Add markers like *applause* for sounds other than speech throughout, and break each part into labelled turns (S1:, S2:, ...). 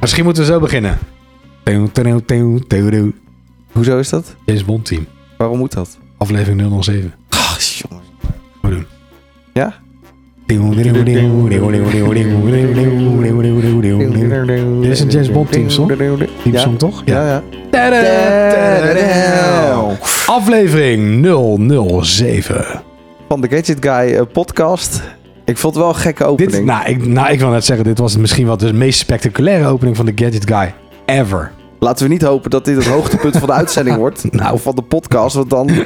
S1: Misschien moeten we zo beginnen. Teu, teu, teu, teu, teu.
S2: Hoezo is dat?
S1: James Bond team.
S2: Waarom moet dat?
S1: Aflevering 007.
S2: Ach, jongen.
S1: Gaan we doen.
S2: Ja?
S1: Dit is een James Bond team song. Team
S2: Ja.
S1: song toch?
S2: Ja, ja.
S1: Tadaa, tadaa. Aflevering 007.
S2: Van de Gadget Guy eh, podcast. Ik vond het wel een gekke opening.
S1: Dit, nou, ik, nou, ik wil net zeggen, dit was misschien wel de meest spectaculaire opening van de Gadget Guy ever.
S2: Laten we niet hopen dat dit het
S1: *laughs*
S2: hoogtepunt van de uitzending wordt.
S1: Nou.
S2: Of van de podcast, want dan...
S1: Ik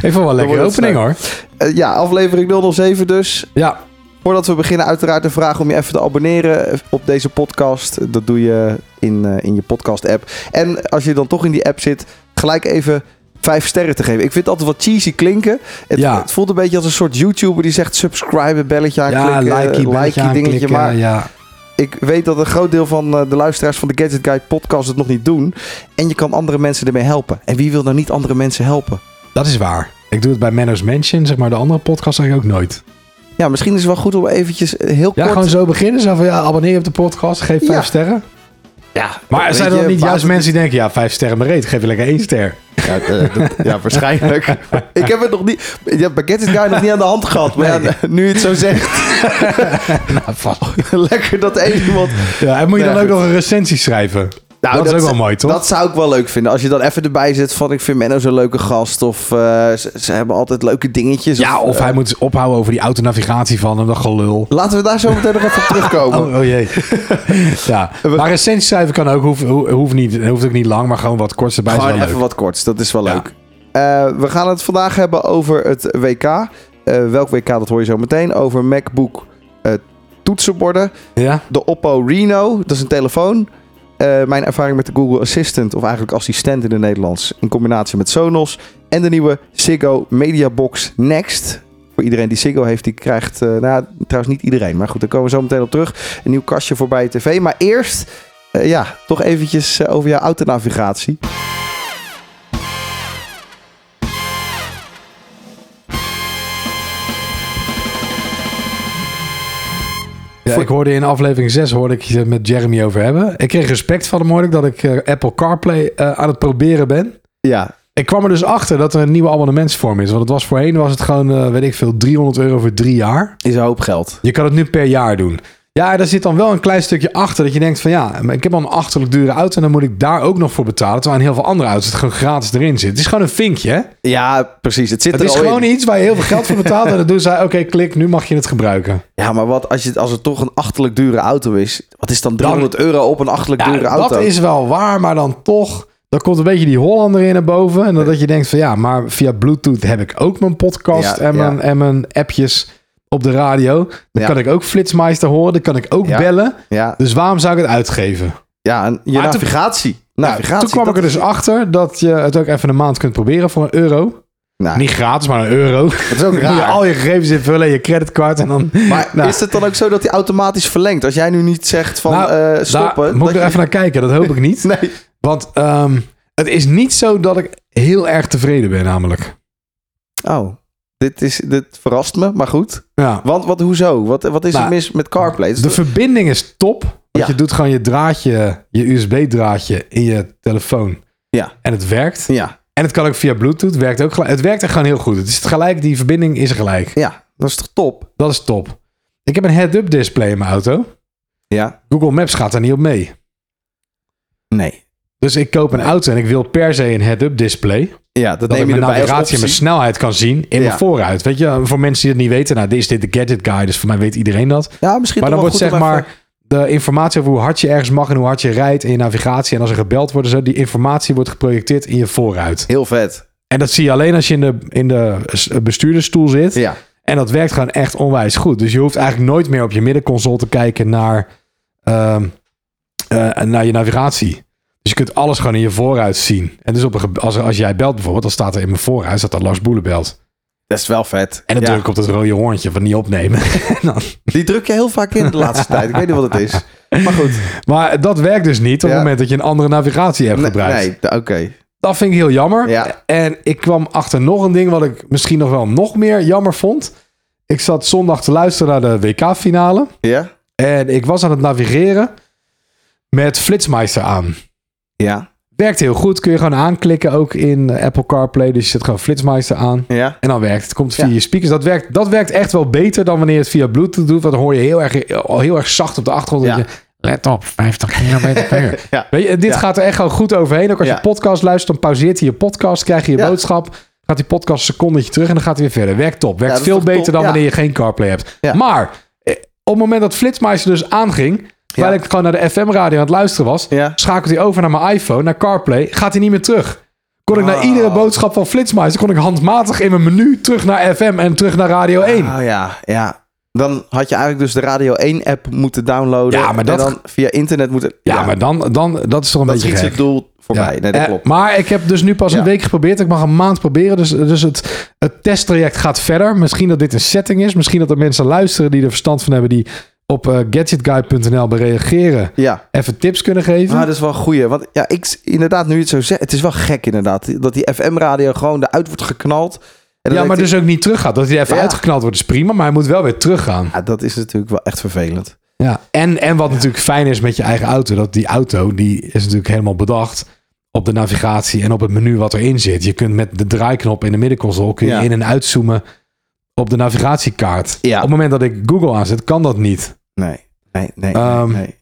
S1: vond wel een lekkere
S2: wordt het
S1: opening hoor.
S2: Eh, ja, aflevering 007 dus.
S1: Ja,
S2: Voordat we beginnen, uiteraard een vraag om je even te abonneren op deze podcast. Dat doe je in, eh, in je podcast-app. En als je dan toch in die app zit, gelijk even vijf sterren te geven. Ik vind het altijd wat cheesy klinken. Het,
S1: Ja.
S2: het voelt een beetje als een soort YouTuber die zegt subscribe, belletje
S1: ja
S2: aanklikken, eh,
S1: likey,
S2: likey
S1: likey
S2: dingetje. Maar
S1: ja.
S2: ik weet dat een groot deel van eh, de luisteraars van de Gadget Guide podcast het nog niet doen. En je kan andere mensen ermee helpen. En wie wil nou niet andere mensen helpen?
S1: Dat is waar. Ik doe het bij Menno's Mansion, zeg maar. De andere podcast eigenlijk ook nooit.
S2: Ja, misschien is het wel goed om eventjes eh, heel
S1: Ja,
S2: kort...
S1: gewoon zo beginnen. Zo van, ja, abonneer je op de podcast. Geef vijf
S2: Ja.
S1: sterren.
S2: Ja,
S1: Maar er
S2: weet
S1: zijn
S2: je,
S1: er niet
S2: baat-
S1: juist mensen die denken... Ja, vijf sterren maar reet. Geef je lekker één
S2: *laughs*
S1: ster.
S2: Ja, eh, dat- ja, waarschijnlijk. *laughs* ik heb het nog niet. Ja, Baguette is daar nog niet aan de hand gehad. Maar ja, nu je het zo zegt,
S1: *laughs* Nou, vast.
S2: *laughs* lekker dat één iemand.
S1: Ja, en moet je
S2: Ja,
S1: dan ook
S2: goed.
S1: nog een recensie schrijven.
S2: Nou,
S1: dat, is ook
S2: z-
S1: wel mooi, toch?
S2: Dat zou ik wel leuk vinden. Als je dan even erbij zit van ik vind Menno zo'n leuke gast. Of eh, ze, ze hebben altijd leuke dingetjes.
S1: ja, of
S2: eh,
S1: hij moet ophouden over die autonavigatie van hem. Dat gelul.
S2: Laten we daar zo meteen nog even op terugkomen.
S1: *laughs* Oh, oh jee. ja. Maar recensie schrijven kan ook. Hoeft, ho- hoeft, niet, hoeft ook niet lang, maar gewoon wat korts erbij. is
S2: Gewoon
S1: wel
S2: even
S1: leuk.
S2: wat korts, dat is wel
S1: Ja.
S2: leuk. Eh, we gaan het vandaag hebben over het WK. Eh, welk WK, dat hoor je zo meteen. Over MacBook eh, toetsenborden.
S1: Ja?
S2: de Oppo Reno, dat is een telefoon. Eh, mijn ervaring met de Google Assistant, of eigenlijk assistent in het Nederlands, in combinatie met Sonos. En de nieuwe Ziggo Mediabox Next. Voor iedereen die Ziggo heeft, die krijgt, eh, nou ja, trouwens niet iedereen, maar goed, daar komen we zo meteen op terug. Een nieuw kastje voor bij je tv. Maar eerst, eh, ja, toch eventjes eh, over jouw autonavigatie.
S1: Ja, ik hoorde in aflevering 6 hoorde ik je het met Jeremy over hebben. Ik kreeg respect van hem hoorde ik dat ik eh, Apple CarPlay eh, aan het proberen ben.
S2: Ja,
S1: Ik kwam er dus achter dat er een nieuwe abonnementsvorm is. Want het was voorheen was het gewoon, eh, weet ik veel, 300 euro voor drie jaar.
S2: is een hoop geld.
S1: Je kan het nu per jaar doen. Ja, daar zit dan wel een klein stukje achter dat je denkt van ja, maar ik heb al een achterlijk dure auto en dan moet ik daar ook nog voor betalen. Terwijl in heel veel andere auto's het gewoon gratis erin zit. Het is gewoon een vinkje. Hè?
S2: Ja, precies. Het zit
S1: Het
S2: er
S1: is
S2: al in.
S1: gewoon iets waar je heel veel geld voor
S2: *laughs*
S1: betaalt en dan doen zij oké, klik, nu mag je het gebruiken.
S2: Ja, maar wat als, je, als het toch een achterlijk dure auto is? Wat is dan 300 euro op een achterlijk
S1: Ja,
S2: dure auto?
S1: dat is wel waar, maar dan toch. Dan komt een beetje die Hollander in naar boven. En dan dat je denkt van ja, maar via Bluetooth heb ik ook mijn podcast
S2: Ja,
S1: en, mijn,
S2: ja.
S1: en mijn appjes op de radio. Dan
S2: Ja.
S1: kan ik ook Flitsmeister horen, dan kan ik ook
S2: Ja.
S1: bellen.
S2: Ja,
S1: Dus waarom zou ik het uitgeven?
S2: Ja, en je
S1: Maar toen-
S2: navigatie. navigatie.
S1: Toen kwam
S2: dat-
S1: ik er dus achter dat je het ook even een maand kunt proberen voor een euro.
S2: Nou,
S1: Niet gratis, maar een euro.
S2: dat is ook
S1: Dan *laughs* moet je
S2: raar.
S1: al je gegevens invullen, je creditcard en dan...
S2: Maar
S1: *laughs* Nou.
S2: is het dan ook zo dat hij automatisch verlengt? Als jij nu niet zegt van
S1: Nou,
S2: eh,
S1: Daar
S2: stoppen.
S1: moet
S2: dat
S1: ik er
S2: je-
S1: even naar kijken, dat hoop ik niet.
S2: *laughs* Nee.
S1: Want ehm, het is niet zo dat ik heel erg tevreden ben namelijk.
S2: Oh, dit, is, dit verrast me, maar goed.
S1: Ja.
S2: Want wat, hoezo? Wat, wat is
S1: Nou,
S2: er mis met CarPlay?
S1: De verbinding is top. Want
S2: Ja.
S1: je doet gewoon je draadje, je USB-draadje in je telefoon.
S2: Ja.
S1: En het werkt.
S2: Ja,
S1: En het kan ook via Bluetooth. Werkt ook gelijk. Het werkt echt gewoon heel goed. Het is gelijk, die verbinding is er gelijk.
S2: ja, dat is toch top?
S1: Dat is top. Ik heb een head-up display in mijn auto.
S2: Ja.
S1: Google Maps gaat daar niet op mee.
S2: Nee.
S1: Dus ik koop een auto en ik wil per se een head-up display.
S2: Ja, dat,
S1: Dat
S2: neem
S1: ik
S2: je
S1: mijn
S2: erbij als
S1: navigatie en mijn
S2: optie.
S1: snelheid kan zien in mijn
S2: Ja.
S1: vooruit. Weet je, voor mensen die het niet weten, nou, dit is dit de gadget guy, dus voor mij weet iedereen dat.
S2: Ja, misschien
S1: Maar dan
S2: toch wel
S1: wordt zeg
S2: goed om
S1: maar
S2: even-
S1: de informatie over hoe hard je ergens mag en hoe hard je rijdt en je navigatie. En als er gebeld wordt, en zo, die informatie wordt geprojecteerd in je vooruit.
S2: Heel vet.
S1: En dat zie je alleen als je in de, in de s- bestuurdersstoel zit.
S2: Ja.
S1: En dat werkt gewoon echt onwijs goed. Dus je hoeft eigenlijk nooit meer op je middenconsole te kijken naar, ehm, eh, naar je navigatie. Dus je kunt alles gewoon in je vooruit zien. En dus op een ge- als, als jij belt bijvoorbeeld, dan staat er in mijn vooruit staat dat Lars Boelen belt.
S2: Dat is wel vet.
S1: En dan
S2: Ja.
S1: druk ik op dat rode hoorntje van niet opnemen.
S2: Die druk je heel vaak in de
S1: *laughs*
S2: laatste tijd. Ik weet niet wat het is. Maar goed.
S1: Maar dat werkt dus niet op het
S2: Ja.
S1: moment dat je een andere navigatie-app
S2: Nee,
S1: gebruikt.
S2: nee oké.
S1: Dat vind ik heel jammer.
S2: Ja.
S1: En ik kwam achter nog een ding wat ik misschien nog wel nog meer jammer vond. Ik zat zondag te luisteren naar de WK-finale.
S2: Ja?
S1: En ik was aan het navigeren. met Flitsmeister aan.
S2: Ja.
S1: Werkt heel goed. Kun je gewoon aanklikken ook in eh, Apple CarPlay. Dus je zet gewoon Flitsmeister aan.
S2: Ja.
S1: En dan werkt het. Komt via
S2: Ja.
S1: je speakers. Dat werkt, dat werkt echt wel beter dan wanneer je het via Bluetooth doet. Want dan hoor je heel erg, al heel erg zacht op de achtergrond.
S2: Ja.
S1: Dat je, let op, 50 kilometer per uur.
S2: Ja.
S1: Weet je, dit
S2: Ja.
S1: gaat er echt gewoon goed overheen. Ook als
S2: Ja.
S1: je podcast luistert, dan pauzeert hij je podcast. Krijg je je
S2: Ja.
S1: boodschap. Gaat die podcast een secondetje terug en dan gaat hij weer verder. Werkt top. Werkt
S2: dat is
S1: veel
S2: toch
S1: beter
S2: top?
S1: dan
S2: Ja.
S1: wanneer je geen CarPlay hebt.
S2: Ja.
S1: Maar eh, op het moment dat Flitsmeister dus aanging... Terwijl
S2: Ja.
S1: ik gewoon naar de FM-radio aan het luisteren was...
S2: Ja.
S1: schakelt hij over naar mijn iPhone, naar CarPlay... gaat hij niet meer terug. Kon ik
S2: Oh.
S1: naar iedere boodschap van Flitsmeister... kon ik handmatig in mijn menu terug naar FM en terug naar Radio 1.
S2: Oh ja, ja. Dan had je eigenlijk dus de Radio 1-app moeten downloaden.
S1: Ja, maar dat-
S2: En dan via internet moeten...
S1: ja, maar dan, dan, dat is toch een
S2: dat
S1: beetje
S2: schiet
S1: gek.
S2: het doel voorbij.
S1: Ja.
S2: Nee, dat
S1: Eh,
S2: klopt.
S1: Maar ik heb dus nu pas
S2: Ja.
S1: een week geprobeerd. Ik mag een maand proberen. Dus, dus het, het testtraject gaat verder. Misschien dat dit een setting is. Misschien dat er mensen luisteren die er verstand van hebben. Die op eh, gadgetguide.nl bereageren.
S2: Ja.
S1: Even tips kunnen geven.
S2: Maar dat is wel een goeie. Want ja, ik inderdaad, nu je het zo zegt, het is wel gek inderdaad. Dat die FM-radio gewoon eruit wordt geknald. En dan
S1: ja,
S2: denkt
S1: maar
S2: ik,
S1: dus ook niet teruggaat. Dat hij er even
S2: Ja.
S1: uitgeknald wordt is prima. Maar hij moet wel weer teruggaan.
S2: ja, dat is natuurlijk wel echt vervelend.
S1: Ja. En, en wat natuurlijk fijn is met je eigen auto. Dat die auto, die is natuurlijk helemaal bedacht. Op de navigatie en op het menu wat erin zit. Je kunt met de draaiknop in de middenconsole kun je
S2: Ja.
S1: in- en uitzoomen op de navigatiekaart.
S2: Ja.
S1: Op het moment dat ik Google aanzet, kan dat niet.
S2: Nee, nee, nee.
S1: Ehm,
S2: nee.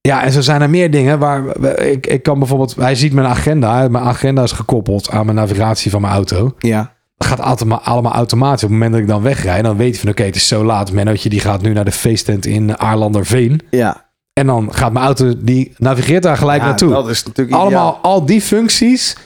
S1: Ja, en zo zijn er meer dingen waar we- we- ik, ik kan bijvoorbeeld... Hij ziet mijn agenda. Mijn agenda is gekoppeld aan mijn navigatie van mijn auto.
S2: Ja,
S1: Dat gaat automa- allemaal automatisch. Op het moment dat ik dan wegrij, dan weet hij van... Oké, het is zo laat. Mennootje die gaat nu naar de feesttent in Aarlanderveen.
S2: ja.
S1: En dan gaat mijn auto, die navigeert daar gelijk
S2: ja,
S1: naartoe.
S2: Dat is natuurlijk
S1: Allemaal, al die functies,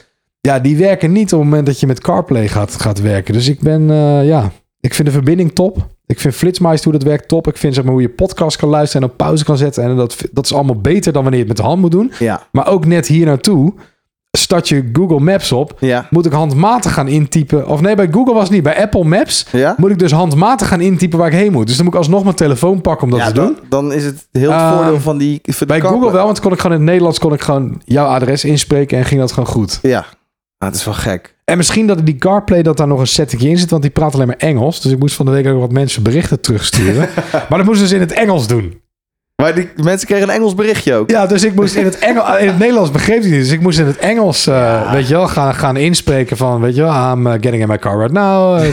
S1: ja, die werken niet op het moment dat je met CarPlay gaat, gaat werken. Dus ik ben, eh, ja, ik vind de verbinding top. Ik vind Flitsmeister hoe dat werkt top. Ik vind zeg maar hoe je podcast kan luisteren en op pauze kan zetten. En dat, dat is allemaal beter dan wanneer je het met de hand moet doen.
S2: Ja,
S1: Maar ook net hier naartoe, start je Google Maps op,
S2: ja,
S1: moet ik handmatig gaan intypen. Of nee, bij Google was het niet. Bij Apple Maps
S2: ja.
S1: moet ik dus handmatig gaan intypen waar ik heen moet. Dus dan moet ik alsnog mijn telefoon pakken om dat
S2: ja
S1: te doen.
S2: dan, dan is het heel het
S1: Ehm,
S2: voordeel van die... Van
S1: Bij
S2: die
S1: Google
S2: kabel.
S1: wel, want kon ik gewoon in het Nederlands kon ik gewoon jouw adres inspreken en ging dat gewoon goed.
S2: Ja, ah, het is wel gek.
S1: En misschien dat die CarPlay dat daar nog een settingje in zit, want die praat alleen maar Engels. Dus ik moest van de week ook wat mensen berichten *laughs* terugsturen. maar dat moesten ze in het Engels doen.
S2: Maar die mensen kregen een Engels berichtje ook.
S1: Ja, dus ik moest in het Engels, in het Nederlands begreep hij niet. Dus ik moest in het Engels, eh,
S2: Ja.
S1: weet je wel, gaan, gaan inspreken van, weet je wel, I'm eh, getting in my car right *laughs* now.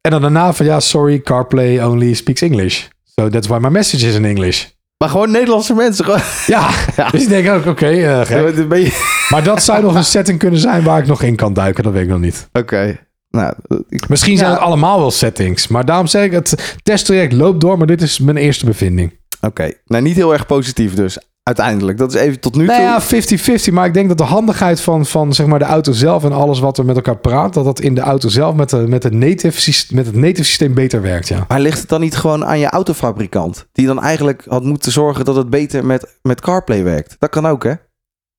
S1: en dan daarna van, ja, sorry, CarPlay only speaks English. So that's why my message is in English.
S2: Maar gewoon Nederlandse mensen. Gewoon,
S1: Ja, *laughs* dus ik denk ook, oké, eh, gek.
S2: *laughs* Dan ben je-
S1: Maar dat zou nog een setting kunnen zijn waar ik nog in kan duiken. Dat weet ik nog niet.
S2: Oké. Nou, ik-
S1: Misschien zijn
S2: Ja.
S1: het allemaal wel settings. Maar daarom zeg ik, het testtraject loopt door. Maar dit is mijn eerste bevinding.
S2: oké. Nou, niet heel erg positief dus. Uiteindelijk. Dat is even tot nu toe.
S1: Nou ja, 50-50. Maar ik denk dat de handigheid van, van zeg maar de auto zelf en alles wat we met elkaar praat... dat dat in de auto zelf met, de, met, het, native, systeem- met het native systeem beter werkt, ja.
S2: Maar ligt het dan niet gewoon aan je autofabrikant? Die dan eigenlijk had moeten zorgen dat het beter met, met CarPlay werkt. Dat kan ook, hè?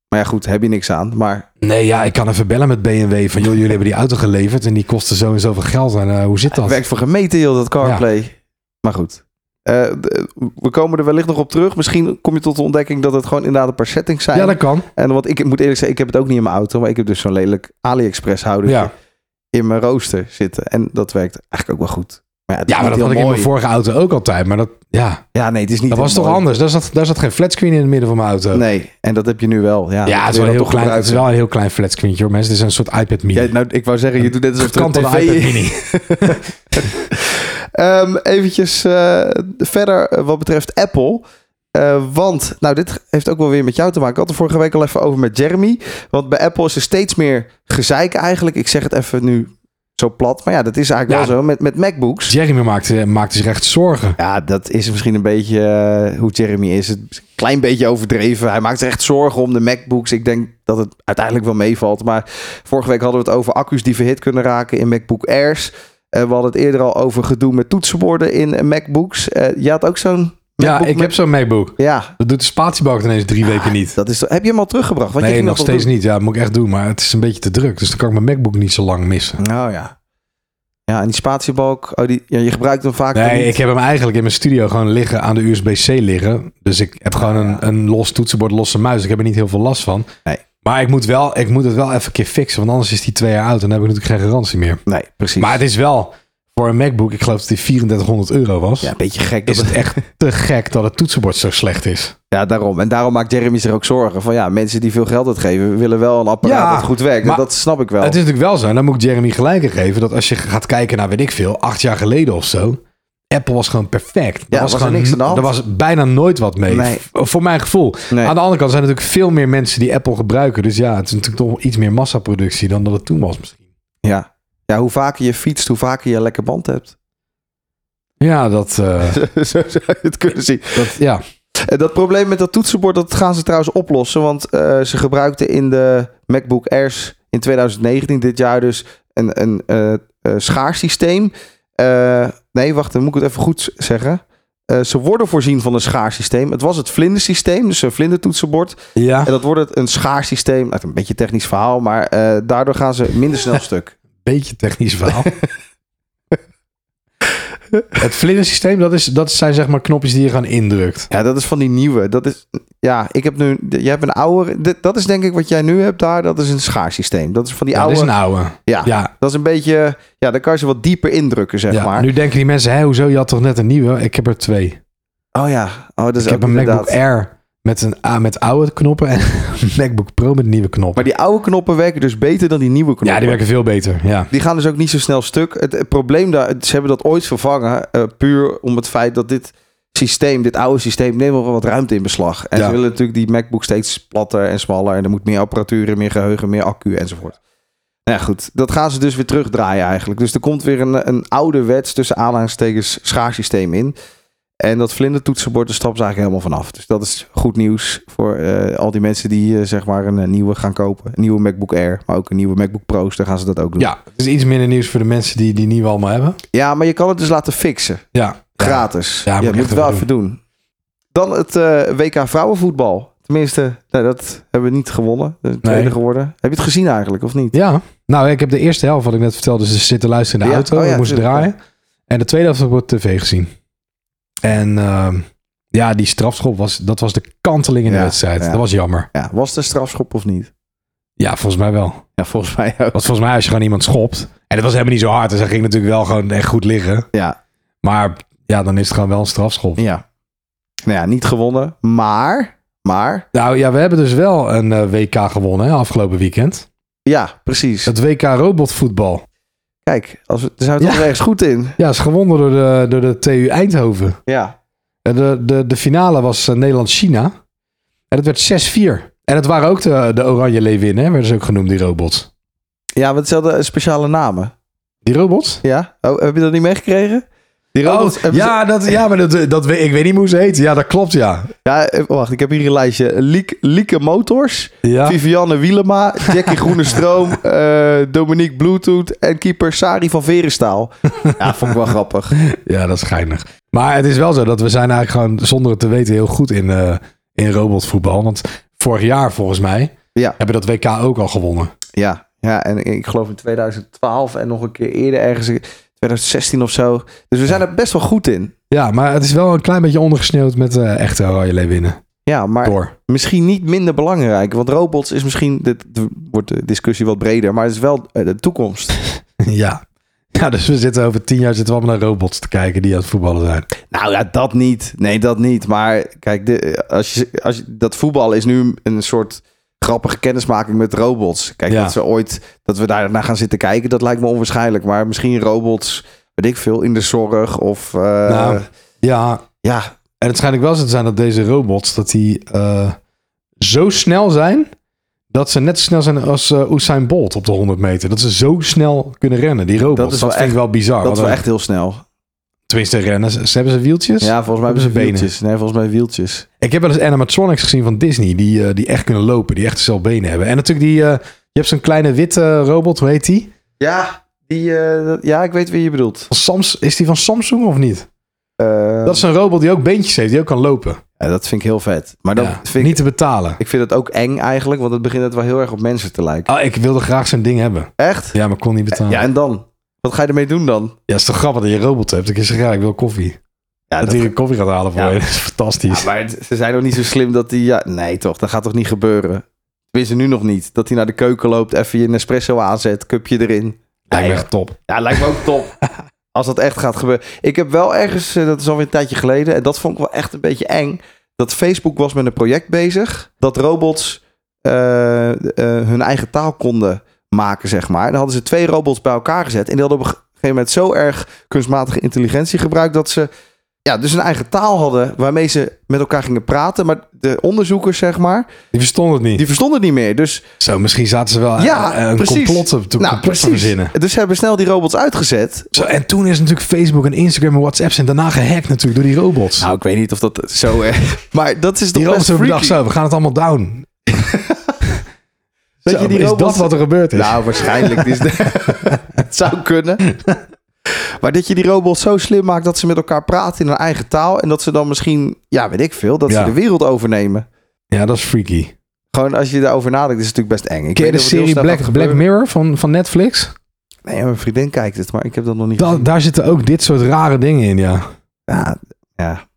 S2: Maar ja, goed, heb je niks aan. Maar
S1: Nee, ja, ik kan even bellen met BMW van... joh, jullie hebben die auto geleverd en die kostte zo en zoveel geld. En eh, hoe zit
S2: het
S1: dat?
S2: werkt voor gemeten, heel dat CarPlay. Maar goed. Eh, d- we komen er wellicht nog op terug. Misschien kom je tot de ontdekking dat het gewoon inderdaad een paar settings zijn.
S1: Ja, dat kan.
S2: En want ik moet eerlijk zeggen, ik heb het ook niet in mijn auto. Maar ik heb dus zo'n lelijk AliExpress houder
S1: Ja.
S2: in mijn rooster zitten. En dat werkt eigenlijk ook wel goed. Maar ja, het is
S1: ja, maar
S2: niet
S1: dat had
S2: heel
S1: ik in mijn
S2: mooi.
S1: vorige auto ook altijd. Maar dat, ja,
S2: Ja, nee, het is niet
S1: dat
S2: heel
S1: was toch
S2: mooi.
S1: anders? Daar zat, daar zat geen flatscreen in het midden van mijn auto.
S2: Nee, en dat heb je nu wel.
S1: Ja,
S2: Ja, Dat
S1: het is, wel
S2: wil je
S1: een
S2: dan
S1: heel
S2: toch
S1: klein, het is
S2: gebruiken.
S1: wel een heel klein flatscreen, hoor. Mensen, dit is een soort iPad mini.
S2: Ja, nou, ik wou zeggen, je doet net alsof het
S1: Gekantelde
S2: een tv
S1: iPad
S2: is. *laughs*
S1: mini.
S2: Ehm, eventjes eh, verder eh, wat betreft Apple. Eh, want, nou, dit heeft ook wel weer met jou te maken. Ik had het vorige week al even over met Jeremy. Want bij Apple is er steeds meer gezeik eigenlijk. Ik zeg het even nu zo plat. Maar ja, dat is eigenlijk
S1: Ja.
S2: wel zo met, met MacBooks.
S1: Jeremy maakte, maakte zich echt zorgen.
S2: Ja, dat is misschien een beetje eh, hoe Jeremy is. Het is een klein beetje overdreven. Hij maakt zich echt zorgen om de MacBooks. Ik denk dat het uiteindelijk wel meevalt. Maar vorige week hadden we het over accu's die verhit kunnen raken in MacBook Airs. Eh, we hadden het eerder al over gedoe met toetsenborden in eh, MacBooks. Eh, je had ook zo'n
S1: Ja,
S2: MacBook
S1: ik heb zo'n MacBook.
S2: met- Ja,
S1: Dat doet de spatiebalk ineens drie weken niet.
S2: dat is... Heb je hem al teruggebracht? Want Ah, je
S1: nee, nog
S2: ging dat al
S1: steeds
S2: doen.
S1: niet. Ja, dat moet ik echt doen. Maar het is een beetje te druk. Dus dan kan ik mijn MacBook niet zo lang missen.
S2: Nou ja. Ja, en die spatiebalk. Oh, die, ja, je gebruikt hem vaak dan
S1: Nee,
S2: niet.
S1: ik heb hem eigenlijk in mijn studio gewoon liggen aan de USB-C liggen. Dus ik heb gewoon
S2: Ja.
S1: een, een los toetsenbord, losse muis. Ik heb er niet heel veel last van.
S2: Nee.
S1: Maar ik moet, wel, ik moet het wel even een keer fixen. Want anders is die twee jaar oud en dan heb ik natuurlijk geen garantie meer.
S2: Nee, precies.
S1: Maar het is wel voor een MacBook, ik geloof dat die 3400 euro was,
S2: Ja, een beetje gek.
S1: is
S2: Dat
S1: het echt te gek dat het toetsenbord zo slecht is.
S2: Ja, daarom. En daarom maakt Jeremy zich ook zorgen. Van ja, mensen die veel geld uitgeven, willen wel een apparaat
S1: Ja,
S2: dat goed werkt. En
S1: maar-
S2: dat snap ik wel.
S1: Het is natuurlijk wel zo, en dan moet ik Jeremy gelijk in geven, dat als je gaat kijken naar, weet ik veel, acht jaar geleden of zo, Apple was gewoon perfect.
S2: er was
S1: gewoon,
S2: niks aan de hand.
S1: Er was bijna nooit wat mee,
S2: Nee.
S1: v- voor mijn gevoel.
S2: Nee.
S1: Aan de andere kant zijn er natuurlijk veel meer mensen die Apple gebruiken. Dus ja, het is natuurlijk toch iets meer massaproductie dan dat het toen was misschien.
S2: ja. ja, hoe vaker je fietst, hoe vaker je een lekker band hebt.
S1: Ja, dat... eh,
S2: *laughs* Zo zou je het kunnen zien.
S1: dat ja.
S2: En dat probleem met dat toetsenbord, dat gaan ze trouwens oplossen. Want eh, ze gebruikten in de MacBook Airs in 2019, dit jaar dus, een, een eh, eh, schaarsysteem. Eh, nee, wacht, dan moet ik het even goed zeggen. Eh, ze worden voorzien van een schaarsysteem. Het was het vlindersysteem, dus een vlindertoetsenbord.
S1: ja.
S2: En dat wordt het een schaarsysteem. Nou, Een beetje een technisch verhaal, maar eh, daardoor gaan ze
S1: *laughs*
S2: minder snel stuk.
S1: *laughs* Beetje technisch verhaal. *laughs* het vlindersysteem, dat, is, dat zijn zeg maar knopjes die je gaan indrukt.
S2: Ja, dat is van die nieuwe. Dat is, ja, ik heb nu, jij hebt een oude, dit- dat is denk ik wat jij nu hebt daar. Dat is een schaarsysteem. Dat is van die
S1: Ja,
S2: oude.
S1: dat is een oude.
S2: Ja.
S1: ja,
S2: Dat is een beetje, ja, dan kan je ze wat dieper indrukken, zeg
S1: ja.
S2: maar.
S1: Nu denken die mensen, hé, hoezo, je had toch net een nieuwe? Ik heb er twee.
S2: Oh ja, oh, dat is
S1: ik heb
S2: ook
S1: een
S2: inderdaad.
S1: MacBook Air met, een, A- met oude knoppen en *laughs* een MacBook Pro met nieuwe knoppen.
S2: Maar die oude knoppen werken dus beter dan die nieuwe knoppen.
S1: ja, die werken veel beter. Ja.
S2: Die gaan dus ook niet zo snel stuk. Het, het probleem daar, ze hebben dat ooit vervangen, eh, puur om het feit dat dit systeem, dit oude systeem, neemt wel wat ruimte in beslag. En
S1: Ja.
S2: ze willen natuurlijk die MacBook steeds platter en smaller. En er moet meer apparatuur, in, meer geheugen, meer accu enzovoort. Nou ja, goed, dat gaan ze dus weer terugdraaien eigenlijk. Dus er komt weer een, een ouderwets tussen aanhalingstekens schaarsysteem in. En dat vlindertoetsenbord, daar stappen ze eigenlijk helemaal vanaf. Dus dat is goed nieuws voor eh, al die mensen die eh, zeg maar een eh, nieuwe gaan kopen. Een nieuwe MacBook Air, maar ook een nieuwe MacBook Pro's. Daar gaan ze dat ook doen.
S1: ja, het is iets minder nieuws voor de mensen die die nieuwe allemaal hebben.
S2: Ja, maar je kan het dus laten fixen.
S1: Ja.
S2: Gratis.
S1: Ja,
S2: Ja,
S1: moet
S2: je
S1: ik
S2: moet
S1: echt
S2: het wel
S1: even
S2: even doen. Dan het eh, WK vrouwenvoetbal. Tenminste, nou, dat hebben we niet gewonnen. De tweede
S1: Nee.
S2: geworden. Heb je het gezien eigenlijk, of niet?
S1: Ja, nou, ik heb de eerste helft, wat ik net vertelde, dus ze zitten luisteren in de
S2: Ja,
S1: auto.
S2: oh ja,
S1: ik moest
S2: tuurlijk,
S1: draaien. En de tweede helft heb ik op tv gezien. En ehm, ja, die strafschop, was, dat was de kanteling in de
S2: Ja,
S1: wedstrijd.
S2: ja.
S1: Dat was jammer.
S2: Ja, was het een strafschop of niet?
S1: Ja, volgens mij wel.
S2: Ja, volgens mij ook.
S1: Want volgens mij als je gewoon iemand schopt... En het was helemaal niet zo hard, dus hij ging natuurlijk wel gewoon echt goed liggen.
S2: Ja,
S1: Maar ja, dan is het gewoon wel een strafschop.
S2: ja. Nou ja, niet gewonnen. Maar, maar,
S1: Nou ja, we hebben dus wel een eh, WK gewonnen hè, afgelopen weekend.
S2: ja, precies.
S1: Het WK robotvoetbal.
S2: Kijk, als we, daar zijn we toch
S1: Ja.
S2: ergens goed in.
S1: Ja, is gewonnen door de, door de TU Eindhoven.
S2: Ja.
S1: En De, de, de finale was eh, Nederland-China. En het werd 6-4. En het waren ook de, de Oranje Leeuwinnen, hè, werden ze ook genoemd, die robots.
S2: Ja, want ze hadden eh, speciale namen.
S1: Die robots?
S2: Ja? Oh, heb je dat niet meegekregen? Die robots
S1: Oh,
S2: hebben ze-
S1: ja, dat, ja, maar dat, dat, we- ik weet niet hoe ze heten. Ja, dat klopt, ja.
S2: ja, eh, wacht, ik heb hier een lijstje. Liek, Lieke Motors.
S1: Ja,
S2: Vivianne Wielema, Jackie *laughs* Groenestroom, eh Dominique Bluetooth en keeper Sari van Verenstaal. Ja, vond ik wel grappig.
S1: ja dat is geinig. Maar het is wel zo dat we zijn eigenlijk gewoon, zonder het te weten, heel goed in, eh, in robotvoetbal. Want vorig jaar, volgens mij,
S2: Ja.
S1: hebben we dat WK ook al gewonnen.
S2: Ja, ja en ik geloof in 2012 en nog een keer eerder ergens, in 2016 of zo. Dus we zijn er best wel goed in.
S1: Ja, maar het is wel een klein beetje ondergesneeuwd met eh, echte Oranje Leeuwinnen.
S2: Ja, maar
S1: Door. *laughs*
S2: misschien niet minder belangrijk. Want robots is misschien, dit wordt de discussie wat breder, maar het is wel eh, de toekomst.
S1: ja. Ja, dus we zitten over tien jaar zitten we allemaal naar robots te kijken die aan het voetballen zijn.
S2: Nou ja, dat niet. Nee, dat niet. Maar kijk, de, als je, als je, dat voetbal is nu een soort grappige kennismaking met robots. Kijk,
S1: Ja.
S2: dat ze ooit dat we daar naar gaan zitten kijken, dat lijkt me onwaarschijnlijk. Maar misschien robots, weet ik veel, in de zorg of eh,
S1: Nou. oh, Ja,
S2: ja,
S1: En het schijnt ook wel zo te zijn dat deze robots dat die eh, zo snel zijn dat ze net zo snel zijn als eh Usain Bolt op de 100 meter. Dat ze zo snel kunnen rennen, die robots. Dat,
S2: Dat is wel
S1: vind ik wel bizar.
S2: dat is wel
S1: Want,
S2: echt heel snel.
S1: Tenminste, rennen. Ze, ze Dus hebben ze wieltjes.
S2: Ja, volgens mij hebben ze
S1: ze benen.
S2: wieltjes. Nee, volgens mij wieltjes.
S1: Ik heb wel eens animatronics gezien van Disney die, eh, die echt kunnen lopen, die echt zelf benen hebben. En natuurlijk die, eh, je hebt zo'n kleine witte robot, hoe heet die?
S2: Ja, die, eh, dat- ja, ik weet wie je bedoelt.
S1: Van Sams, is die van Samsung of niet?
S2: Eh,
S1: Dat is een robot die ook beentjes heeft, die ook kan lopen.
S2: ja, dat vind ik heel vet. Maar dat
S1: Ja,
S2: vind ik,
S1: Niet te betalen.
S2: ik vind het ook eng eigenlijk, want het begint het wel heel erg op mensen te lijken.
S1: Ah, ik wilde graag zo'n ding hebben.
S2: Echt?
S1: Ja, maar kon niet betalen.
S2: Ja,
S1: Ja,
S2: en dan? Wat ga je ermee doen dan?
S1: het is toch grappig dat je een robot hebt. Ik zeg, ja, ik wil koffie.
S2: Ja,
S1: dat,
S2: dat-
S1: hij een koffie gaat halen voor
S2: Ja.
S1: je. *laughs* Dat is fantastisch.
S2: Ja, maar het- ze zijn nog niet zo slim dat hij... Ja, nee toch, dat gaat toch niet gebeuren? Tenminste, nu nog niet. Dat hij naar de keuken loopt, even je Nespresso aanzet, cupje erin.
S1: Lijkt me
S2: Nee,
S1: echt top.
S2: ja, lijkt me ook top. *laughs* Als dat echt gaat gebeuren. Ik heb wel ergens, eh, dat is alweer een tijdje geleden, en dat vond ik wel echt een beetje eng. Dat Facebook was met een project bezig. Dat robots eh, eh, hun eigen taal konden maken, zeg maar. En dan hadden ze twee robots bij elkaar gezet. En die hadden op een gegeven moment zo erg kunstmatige intelligentie gebruikt dat ze. Ja, dus een eigen taal hadden waarmee ze met elkaar gingen praten. Maar de onderzoekers, zeg maar,
S1: Die verstond het niet.
S2: die verstonden het niet meer. Dus
S1: Zo, misschien zaten ze wel
S2: Ja,
S1: eh, een
S2: precies.
S1: complot te, te, complot te verzinnen.
S2: Dus ze hebben snel die robots uitgezet.
S1: Zo, en toen is natuurlijk Facebook en Instagram en WhatsApp zijn daarna gehackt natuurlijk door die robots.
S2: Nou, ik weet niet of dat zo... erg- *laughs* maar dat is
S1: die
S2: toch
S1: robots
S2: best
S1: hebben bedacht,
S2: freaky.
S1: zo, we gaan het allemaal down.
S2: *laughs* Dat
S1: Zo,
S2: je die
S1: is
S2: robots-
S1: dat wat er gebeurd is?
S2: Nou, waarschijnlijk. Dus het *laughs* zou kunnen. Maar dat je die robots zo slim maakt dat ze met elkaar praten in hun eigen taal. En dat ze dan misschien, ja, weet ik veel, dat ze
S1: Ja.
S2: de wereld overnemen.
S1: ja, dat is freaky.
S2: Gewoon als je daarover nadenkt, is het natuurlijk best eng. Ik
S1: Ken je
S2: weet
S1: de
S2: niet of het heel
S1: serie
S2: snel
S1: Black,
S2: gaat
S1: Black
S2: gebeuren.
S1: Mirror van, van Netflix?
S2: Nee, mijn vriendin kijkt het, maar ik heb dat nog niet
S1: Da-
S2: gezien.
S1: daar zitten ook dit soort rare dingen in, ja.
S2: Ja, ja.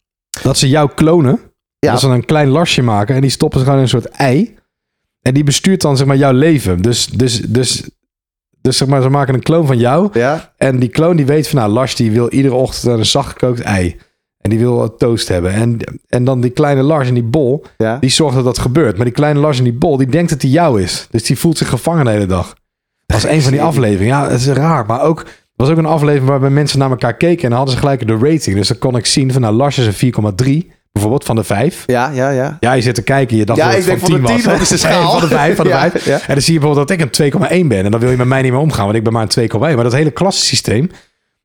S1: Dat ze jou klonen.
S2: Ja.
S1: Dat ze dan een klein lasje maken en die stoppen ze gewoon in een soort ei. En die bestuurt dan zeg maar jouw leven. Dus, dus, dus, dus zeg maar, ze maken een kloon van jou.
S2: ja?
S1: En die kloon die weet van nou, Lars die wil iedere ochtend een zachtgekookt ei. En die wil toast hebben. En, en dan die kleine Lars in die bol,
S2: Ja.
S1: die zorgt dat dat gebeurt. Maar die kleine Lars in die bol, die denkt dat die jou is. Dus die voelt zich gevangen de hele dag. Dat is een van die afleveringen. Ja, het is raar. Maar ook, er was ook een aflevering waarbij mensen naar elkaar keken. En dan hadden ze gelijk de rating. Dus dan kon ik zien van nou, Lars is een 4,3. Bijvoorbeeld van de 5.
S2: Ja, ja, ja.
S1: Ja, je zit te kijken. Je dacht
S2: Ja,
S1: dat het
S2: ik denk
S1: van
S2: van
S1: 10
S2: de 10,
S1: was.
S2: dat is de
S1: *laughs* Nee,
S2: schaal.
S1: van de 5, van de
S2: *laughs* Ja,
S1: 5.
S2: ja.
S1: En dan zie je bijvoorbeeld dat ik een 2,1 ben. En dan wil je met mij niet meer omgaan, want ik ben maar een 2,1. Maar dat hele klassensysteem,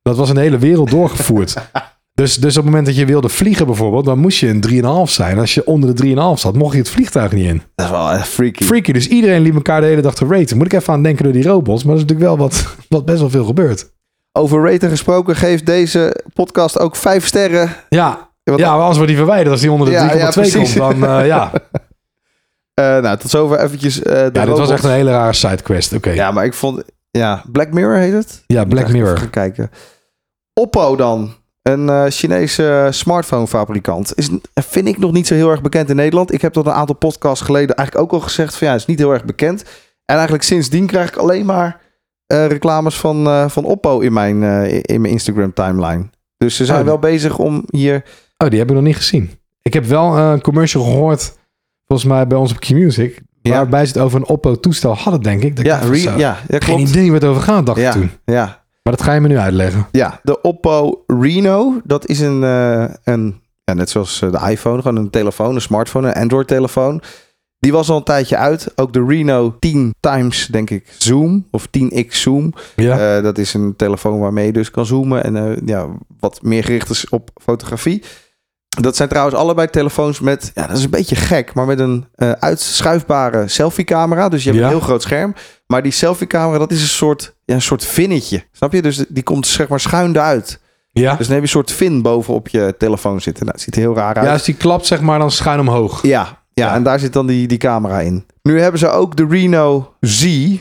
S1: dat was in de hele wereld doorgevoerd.
S2: *laughs*
S1: dus, dus op het moment dat je wilde vliegen bijvoorbeeld, dan moest je een 3,5 zijn. Als je onder de 3,5 zat, mocht je het vliegtuig niet in.
S2: Dat is wel eh, freaky.
S1: Freaky, dus iedereen liep elkaar de hele dag te raten. Moet ik even aan denken door die robots, maar dat is natuurlijk wel wat, *laughs* wat best wel veel gebeurt.
S2: Over raten gesproken, geef deze podcast ook vijf sterren.
S1: Ja,
S2: Want-
S1: ja maar anders wordt die verwijderd. Als die onder de 3,2
S2: Ja, ja,
S1: komt,
S2: precies.
S1: dan eh,
S2: *laughs*
S1: ja.
S2: Eh, nou, tot zover eventjes eh, de
S1: ja, dit was
S2: robots.
S1: echt een hele rare sidequest. Oké, ja,
S2: Ja, maar ik vond... Ja, Black Mirror heet het?
S1: Black
S2: Even
S1: Mirror.
S2: Gaan kijken. Oppo dan. Een eh, Chinese smartphone-fabrikant. Is, vind ik nog niet zo heel erg bekend in Nederland. Ik heb dat een aantal podcasts geleden eigenlijk ook al gezegd. Van ja, het is niet heel erg bekend. En eigenlijk sindsdien krijg ik alleen maar eh, reclames van, eh, van Oppo in mijn, eh, in mijn Instagram-timeline. Dus ze zijn
S1: Oh.
S2: wel bezig om hier...
S1: Oh, die heb ik nog niet gezien. Ik heb wel eh, een commercial gehoord, volgens mij bij ons op Q-Music,
S2: Ja.
S1: waarbij ze het over een Oppo-toestel hadden, denk ik. Dat
S2: Ja,
S1: ik dacht,
S2: re-
S1: zo,
S2: ja, ja,
S1: Geen
S2: klopt.
S1: idee wat het over gaat, dacht
S2: Ja.
S1: ik toen.
S2: Ja,
S1: Maar dat ga je me nu uitleggen.
S2: Ja, de Oppo Reno. Dat is een, eh, een ja, net zoals eh, de iPhone, gewoon een telefoon, een smartphone, een Android-telefoon. Die was al een tijdje uit. Ook de Reno 10 times, denk ik, zoom. Of 10x zoom.
S1: Ja.
S2: Eh, dat is een telefoon waarmee je dus kan zoomen en eh, ja, wat meer gericht is op fotografie. Dat zijn trouwens allebei telefoons met, ja, dat is een beetje gek, maar met een eh, uitschuifbare selfie-camera. Dus je hebt
S1: Ja.
S2: een heel groot scherm. Maar die selfie-camera, dat is een soort, ja, een soort vinnetje. Snap je? Dus die komt zeg maar schuin eruit.
S1: ja.
S2: Dus dan heb je een soort vin bovenop je telefoon zitten. Nou, het ziet er heel raar uit.
S1: ja, als die klapt, zeg maar, dan schuin omhoog.
S2: Ja, ja,
S1: Ja.
S2: en daar zit dan die, die camera in. Nu hebben ze ook de Reno Z, als je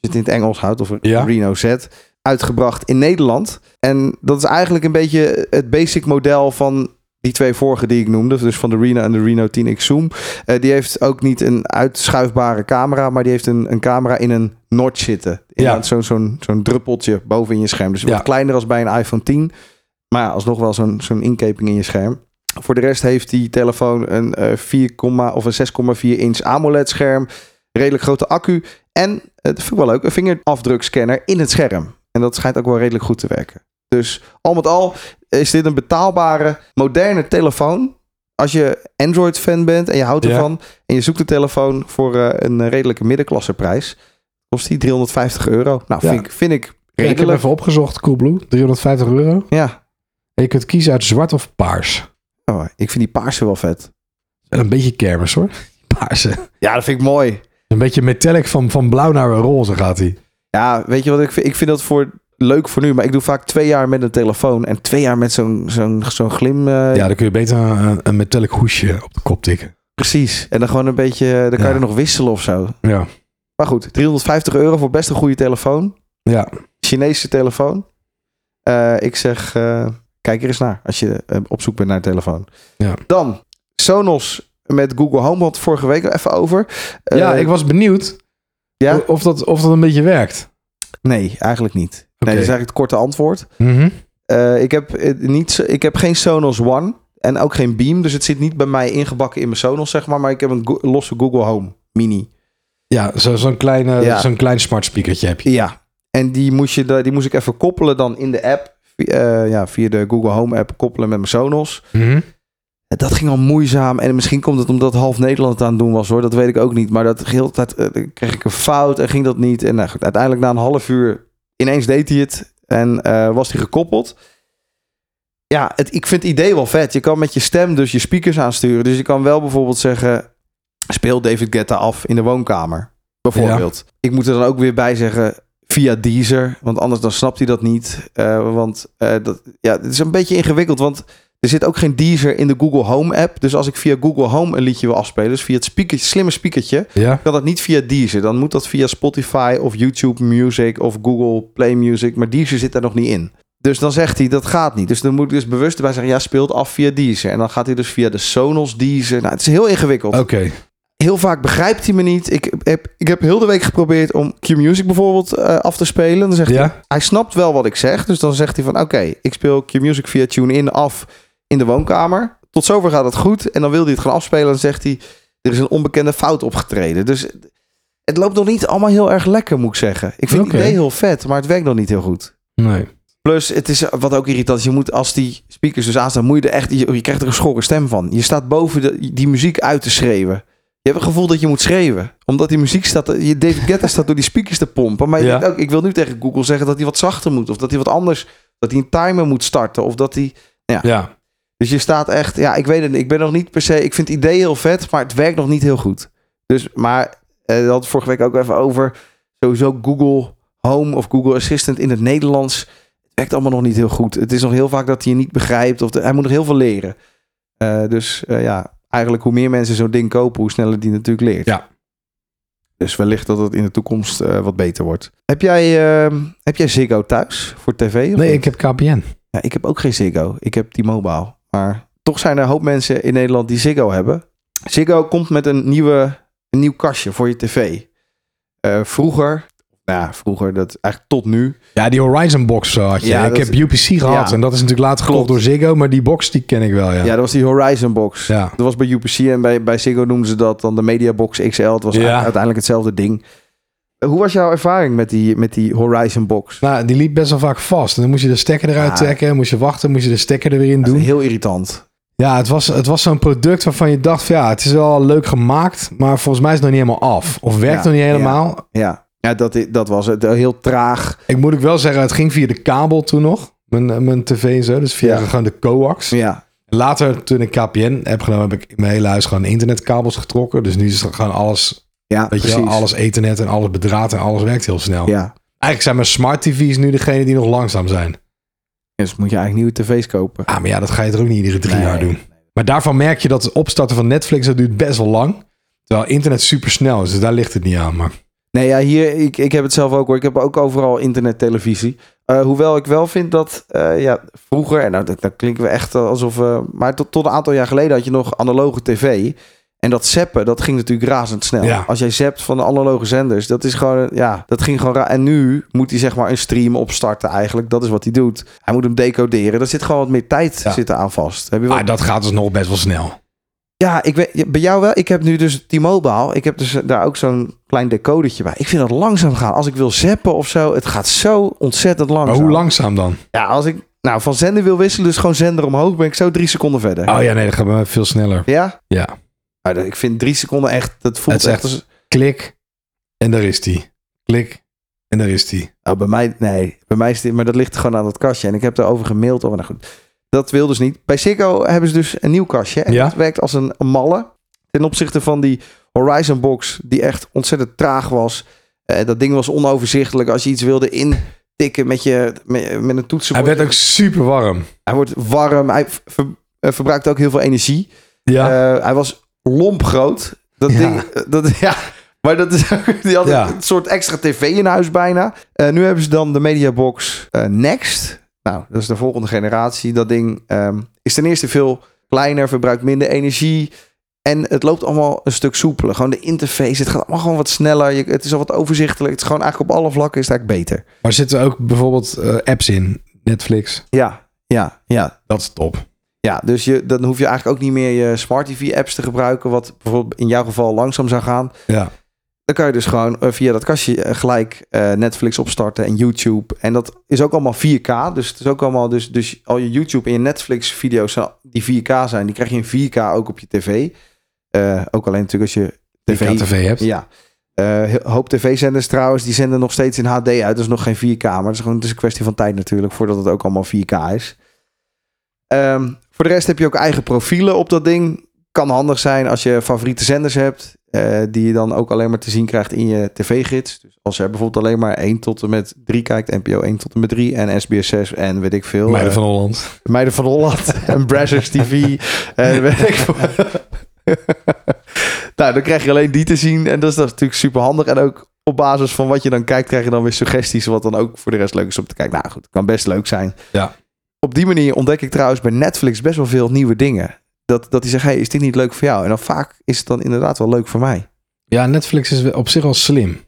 S2: het in het Engels houdt, of
S1: Ja.
S2: Reno Z, uitgebracht in Nederland. En dat is eigenlijk een beetje het basic model van die twee vorige die ik noemde. Dus van de Reno en de Reno 10X Zoom. Eh, die heeft ook niet een uitschuifbare camera, maar die heeft een, een camera in een notch zitten. Ja. Zo'n zo'n zo'n druppeltje boven in je scherm. Dus wat
S1: Ja.
S2: kleiner als bij een iPhone 10. Maar ja, alsnog wel zo'n zo'n inkeping in je scherm. Voor de rest heeft die telefoon een, eh 4, of een 6,4 inch AMOLED scherm. Redelijk grote accu. En, eh, dat vind ik wel leuk, een vingerafdrukscanner in het scherm. En dat schijnt ook wel redelijk goed te werken. Dus al met al is dit een betaalbare, moderne telefoon. Als je Android-fan bent en je houdt
S1: Ja.
S2: ervan... en je zoekt een telefoon voor eh, een eh, redelijke middenklasseprijs... kost die 350 euro. Nou,
S1: Ja.
S2: vind, ik, vind ik
S1: Ja, ik heb
S2: redelijk.
S1: even opgezocht, Coolblue. 350 euro.
S2: Ja,
S1: En je kunt kiezen uit zwart of paars.
S2: oh, ik vind die paarse wel vet.
S1: Een beetje kermis,
S2: *laughs*
S1: hoor. Paarse.
S2: Ja, dat vind ik mooi.
S1: Een beetje metallic van, van blauw naar roze gaat hij.
S2: Ja, weet je wat ik vind? Ik vind dat voor leuk voor nu, maar ik doe vaak twee jaar met een telefoon en twee jaar met zo'n zo'n zo'n glim. eh,
S1: Ja, dan kun je beter een, een metallic hoesje op de kop tikken.
S2: Precies. En dan gewoon een beetje, eh, dan kan
S1: Ja.
S2: je er nog wisselen of zo.
S1: Ja.
S2: Maar goed, 350 euro voor best een goede telefoon.
S1: Ja.
S2: Chinese telefoon. Eh, ik zeg, eh, kijk er eens naar als je eh, op zoek bent naar een telefoon.
S1: Ja.
S2: Dan Sonos met Google Home, want vorige week even over. Eh,
S1: ja, ik was benieuwd
S2: ja?
S1: of, dat, of dat een beetje werkt.
S2: Nee, eigenlijk niet.
S1: Oké.
S2: Nee, dat is eigenlijk het korte antwoord.
S1: Mhm.
S2: Eh, ik, heb, eh, niet, zo- ik heb geen Sonos One en ook geen Beam. Dus het zit niet bij mij ingebakken in mijn Sonos, zeg maar. Maar ik heb een go- losse Google Home Mini.
S1: Ja, zo- zo'n kleine,
S2: Ja.
S1: zo'n klein smart speakertje heb je.
S2: Ja. En die moest, je, da- die moest ik even koppelen dan in de app. Vi- eh, ja, via de Google Home app koppelen met mijn Sonos.
S1: Mhm.
S2: En Dat ging al moeizaam. En misschien komt het omdat half Nederland het aan het doen was hoor. Dat weet ik ook niet. Maar dat heel de tijd eh, dan kreeg ik een fout en ging dat niet. En nou goed, uiteindelijk na een half uur ineens deed hij het. En eh, was hij gekoppeld. Ja, het, ik vind het idee wel vet. Je kan met je stem dus je speakers aansturen. Dus je kan wel bijvoorbeeld zeggen... Speel David Guetta af in de woonkamer. Bijvoorbeeld. Ik moet er dan ook weer bij zeggen... Via Deezer. Want anders dan snapt hij dat niet. Eh, want eh, dat, ja, het is een beetje ingewikkeld. Want er zit ook geen Deezer in de Google Home app. Dus als ik via Google Home een liedje wil afspelen, dus via het speakertje, slimme speakertje,
S1: Ja.
S2: kan dat niet via Deezer. Dan moet dat via Spotify of YouTube Music of Google Play Music. Maar Deezer zit daar nog niet in. Dus dan zegt hij, dat gaat niet. Dus dan moet ik dus bewust erbij zeggen, ja, speelt af via Deezer. En dan gaat hij dus via de Sonos Deezer. Nou, het is heel ingewikkeld.
S1: Oké.
S2: Heel vaak begrijpt hij me niet. Ik heb, ik heb heel de week geprobeerd om Q-Music bijvoorbeeld eh, af te spelen. Dan zegt
S1: Ja?
S2: hij snapt wel wat ik zeg. Dus dan zegt hij van oké, ik speel Q-Music via TuneIn af in de woonkamer. Tot zover gaat het goed. En dan wil hij het gaan afspelen en zegt hij, er is een onbekende fout opgetreden. Dus het loopt nog niet allemaal heel erg lekker, moet ik zeggen. Ik vind
S1: Oké.
S2: het idee heel vet, maar het werkt nog niet heel goed.
S1: Nee.
S2: Plus, het is wat ook irritant. is, Je moet als die speakers dus aanstaan, moet je er echt, je, je krijgt er een schorre stem van. Je staat boven de, die muziek uit te schreeuwen. Je hebt het gevoel dat je moet schreeuwen. Omdat die muziek staat, je David Guetta staat door die speakers te pompen. Maar je
S1: Ja.
S2: denkt ook, ik wil nu tegen Google zeggen dat hij wat zachter moet. Of dat hij wat anders, dat hij een timer moet starten. Of dat hij,
S1: Ja.
S2: dus je staat echt, ja, ik weet het niet. Ik ben nog niet per se, ik vind het idee heel vet, maar het werkt nog niet heel goed. Dus, maar, eh, we hadden vorige week ook even over, sowieso Google Home of Google Assistant in het Nederlands. Het werkt allemaal nog niet heel goed. Het is nog heel vaak dat hij je niet begrijpt. Of de- hij moet nog heel veel leren. Eh, dus eh, ja, eigenlijk hoe meer mensen zo'n ding kopen, hoe sneller die natuurlijk leert.
S1: Ja.
S2: Dus wellicht dat het in de toekomst eh, wat beter wordt. Heb jij, eh, heb jij Ziggo thuis voor tv? of
S1: Nee, ik
S2: niet?
S1: heb KPN.
S2: Ja, ik heb ook geen Ziggo. Ik heb die mobile. Maar toch zijn er een hoop mensen in Nederland die Ziggo hebben. Ziggo komt met een, nieuwe, een nieuw kastje voor je tv. Eh, vroeger, nou ja, vroeger, dat eigenlijk tot nu.
S1: Ja, die Horizon box zo had je.
S2: Ja,
S1: ik
S2: dat-
S1: heb UPC gehad
S2: Ja.
S1: en dat is natuurlijk later gekocht door
S2: Klopt.
S1: Ziggo, maar die box die ken ik wel, ja.
S2: Ja, dat was die Horizon Box.
S1: Ja.
S2: Dat was bij UPC en bij, bij Ziggo noemden ze dat dan de Mediabox XL. Het was
S1: Ja.
S2: eigenlijk uiteindelijk hetzelfde ding. Eh, Hoe was jouw ervaring met die, met die Horizon Box?
S1: Nou, die liep best wel vaak vast. En dan moest je de stekker eruit
S2: Ja.
S1: trekken, moest je wachten, moest je de stekker er weer in
S2: Dat
S1: doen.
S2: is heel irritant.
S1: Ja, het was, het was zo'n product waarvan je dacht, van, ja, het is wel leuk gemaakt, maar volgens mij is het nog niet helemaal af. Of werkt
S2: Ja,
S1: nog niet
S2: ja.
S1: helemaal.
S2: Ja, ja dat, i- dat was het. Heel traag.
S1: Ik moet ook wel zeggen, het ging via de kabel toen nog. Mijn, eh, mijn tv en zo, dus via
S2: Ja.
S1: gewoon de coax.
S2: Ja,
S1: Later, toen ik KPN heb genomen, heb ik in mijn hele huis gewoon internetkabels getrokken. Dus nu is het gewoon alles,
S2: ja
S1: weet
S2: precies.
S1: je wel, alles ethernet en alles bedraad en alles werkt heel snel.
S2: Ja.
S1: Eigenlijk zijn mijn smart tv's nu degene die nog langzaam zijn.
S2: Dus moet je eigenlijk nieuwe tv's kopen.
S1: Ah, maar ja, dat ga je toch ook niet iedere drie
S2: Nee.
S1: jaar doen. Maar daarvan merk je dat het opstarten van Netflix, dat duurt best wel lang. Terwijl internet super snel is, dus daar ligt het niet aan. Maar
S2: Nee, ja, hier, ik, ik heb het zelf ook hoor. Ik heb ook overal internettelevisie. Eh, hoewel ik wel vind dat, eh, ja, vroeger, en nou, dat, dat klinken we echt alsof, eh, maar tot, tot een aantal jaar geleden had je nog analoge tv. En dat zappen, dat ging natuurlijk razendsnel.
S1: Ja.
S2: Als jij zapt van de analoge zenders, dat is gewoon, ja, dat ging gewoon raar. En nu moet hij zeg maar een stream opstarten eigenlijk. Dat is wat hij doet. Hij moet hem decoderen. Daar zit gewoon wat meer tijd
S1: Ja.
S2: zitten aan vast. Heb je wel
S1: ah, dat gaat dus nog best wel snel.
S2: ja, ik weet, ja, bij jou wel. Ik heb nu dus T-Mobile. Ik heb dus eh, daar ook zo'n klein decodertje bij. Ik vind dat langzaam gaan. Als ik wil zappen of zo, het gaat zo ontzettend langzaam.
S1: Maar hoe langzaam dan?
S2: Ja, als ik nou van zender wil wisselen, dus gewoon zender omhoog, ben ik zo drie seconden verder.
S1: Oh ja, nee, dat gaat bij mij veel sneller.
S2: Ja?
S1: Ja.
S2: Nou, dat- ik vind drie seconden echt, dat voelt
S1: Het is
S2: echt
S1: echt-
S2: als...
S1: Klik en daar is die. Klik en daar is die.
S2: Nou, bij mij, nee, bij mij is dit, maar dat ligt gewoon aan dat kastje. En ik heb daarover gemaild. Oh, nou goed. Dat wil dus niet. Bij Ziggo hebben ze dus een nieuw kastje. En
S1: Ja.
S2: dat werkt als een malle. Ten opzichte van die Horizon Box, die echt ontzettend traag was. Eh, dat ding was onoverzichtelijk. Als je iets wilde intikken met, je, met, met een
S1: Hij
S2: toetsenbord.
S1: werd ook super warm.
S2: Hij wordt warm. Hij ver- eh, verbruikt ook heel veel energie.
S1: Ja.
S2: Eh, hij was lomp groot. Dat
S1: Ja.
S2: ding, eh, dat, *laughs* ja. Maar dat is ook, die had
S1: Ja.
S2: een soort extra tv in huis bijna. Eh, nu hebben ze dan de Mediabox eh, Next. Nou, dat is de volgende generatie. Dat ding ehm, is ten eerste veel kleiner, verbruikt minder energie. En het loopt allemaal een stuk soepeler. Gewoon de interface, het gaat allemaal gewoon wat sneller. Je, het is al wat overzichtelijk. Het is gewoon eigenlijk op alle vlakken is het eigenlijk beter.
S1: maar zitten ook bijvoorbeeld eh, apps in Netflix.
S2: Ja, ja, ja.
S1: Dat is top.
S2: Ja, dus je, dan hoef je eigenlijk ook niet meer je smart TV-apps te gebruiken, wat bijvoorbeeld in jouw geval langzaam zou gaan.
S1: Ja.
S2: Dan kan je dus gewoon eh, via dat kastje eh, gelijk eh, Netflix opstarten en YouTube. En dat is ook allemaal 4K. Dus het is ook allemaal, dus, dus al je YouTube en je Netflix video's zijn- die 4K zijn, die krijg je in 4K ook op je tv. Eh, ook alleen natuurlijk als je
S1: TV.
S2: tv
S1: TV hebt.
S2: Ja. Eh, heel- een hoop tv-zenders trouwens, die zenden nog steeds in HD uit. Dat is nog geen 4K, maar het is gewoon het is een kwestie van tijd natuurlijk... voordat het ook allemaal 4K is. Ehm, voor de rest heb je ook eigen profielen op dat ding. Kan handig zijn als je favoriete zenders hebt... eh, die je dan ook alleen maar te zien krijgt in je tv-gids. Dus als er bijvoorbeeld alleen maar 1 tot en met 3 kijkt... NPO 1 tot en met 3 en SBS 6 en weet ik veel...
S1: Meiden
S2: eh,
S1: van Holland.
S2: Meiden van Holland *laughs* en Brazzers TV en weet ik veel. *laughs* nou, dan krijg je alleen die te zien en dat is, dat is natuurlijk super handig. En ook op basis van wat je dan kijkt, krijg je dan weer suggesties wat dan ook voor de rest leuk is om te kijken. Nou goed, kan best leuk zijn.
S1: Ja.
S2: Op die manier ontdek ik trouwens bij Netflix best wel veel nieuwe dingen. Dat, dat die zeggen, hey, is dit niet leuk voor jou? En dan vaak is het dan inderdaad wel leuk voor mij.
S1: Ja, Netflix is op zich wel slim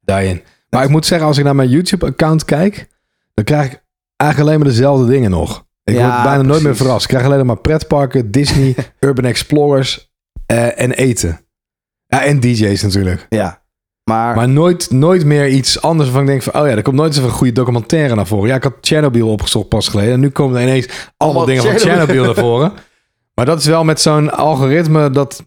S1: daarin. Maar ik moet zeggen, als ik naar mijn YouTube-account kijk, dan krijg ik eigenlijk alleen maar dezelfde dingen nog. Ik
S2: Ja,
S1: word bijna nooit meer
S2: precies.
S1: verrast. Ik krijg alleen maar pretparken, *laughs* Disney, Urban Explorers eh, en eten. Ja, en DJ's natuurlijk.
S2: Ja. Maar,
S1: Maar nooit, nooit meer iets anders waarvan ik denk van... oh ja, er komt nooit eens even een goede documentaire naar voren. Ja, ik had Chernobyl opgezocht pas geleden... en nu komen er ineens allemaal,
S2: Allemaal
S1: dingen van
S2: Chernobyl.
S1: Chernobyl naar voren. Maar dat is wel met zo'n algoritme dat...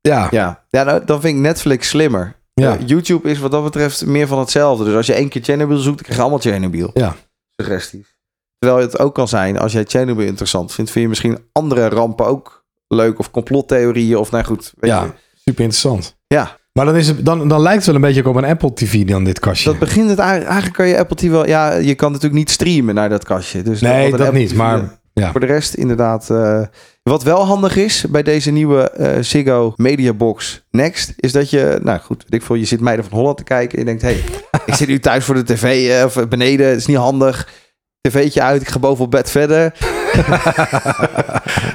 S1: Ja,
S2: *laughs* ja, ja nou, dan vind ik Netflix slimmer.
S1: ja.
S2: Eh, YouTube is wat dat betreft meer van hetzelfde. Dus als je één keer Chernobyl zoekt, dan krijg je allemaal Chernobyl.
S1: Ja.
S2: Suggesties. Terwijl het ook kan zijn, als jij Chernobyl interessant vindt, vind je misschien andere rampen ook leuk. Of complottheorieën, of nou goed. Weet
S1: Ja,
S2: je.
S1: super interessant.
S2: Ja.
S1: Maar dan, is het, dan, dan lijkt het wel een beetje ook op een Apple TV dan dit kastje.
S2: Dus Dat begint het eigenlijk, eigenlijk kan je Apple TV wel... Ja, je kan natuurlijk niet streamen naar dat kastje. Dus
S1: Nee,
S2: wat een
S1: dat
S2: Apple
S1: niet,
S2: TV
S1: maar- ja.
S2: Voor de rest inderdaad... eh, wat wel handig is bij deze nieuwe eh, Ziggo Media Box Next... is dat je, nou goed, weet ik veel, je zit Meiden van Holland te kijken... en je
S1: *laughs*
S2: denkt, hey, ik zit nu thuis voor de tv eh, of beneden, het is niet handig... tv'tje uit, ik ga boven op bed
S1: *laughs*
S2: verder.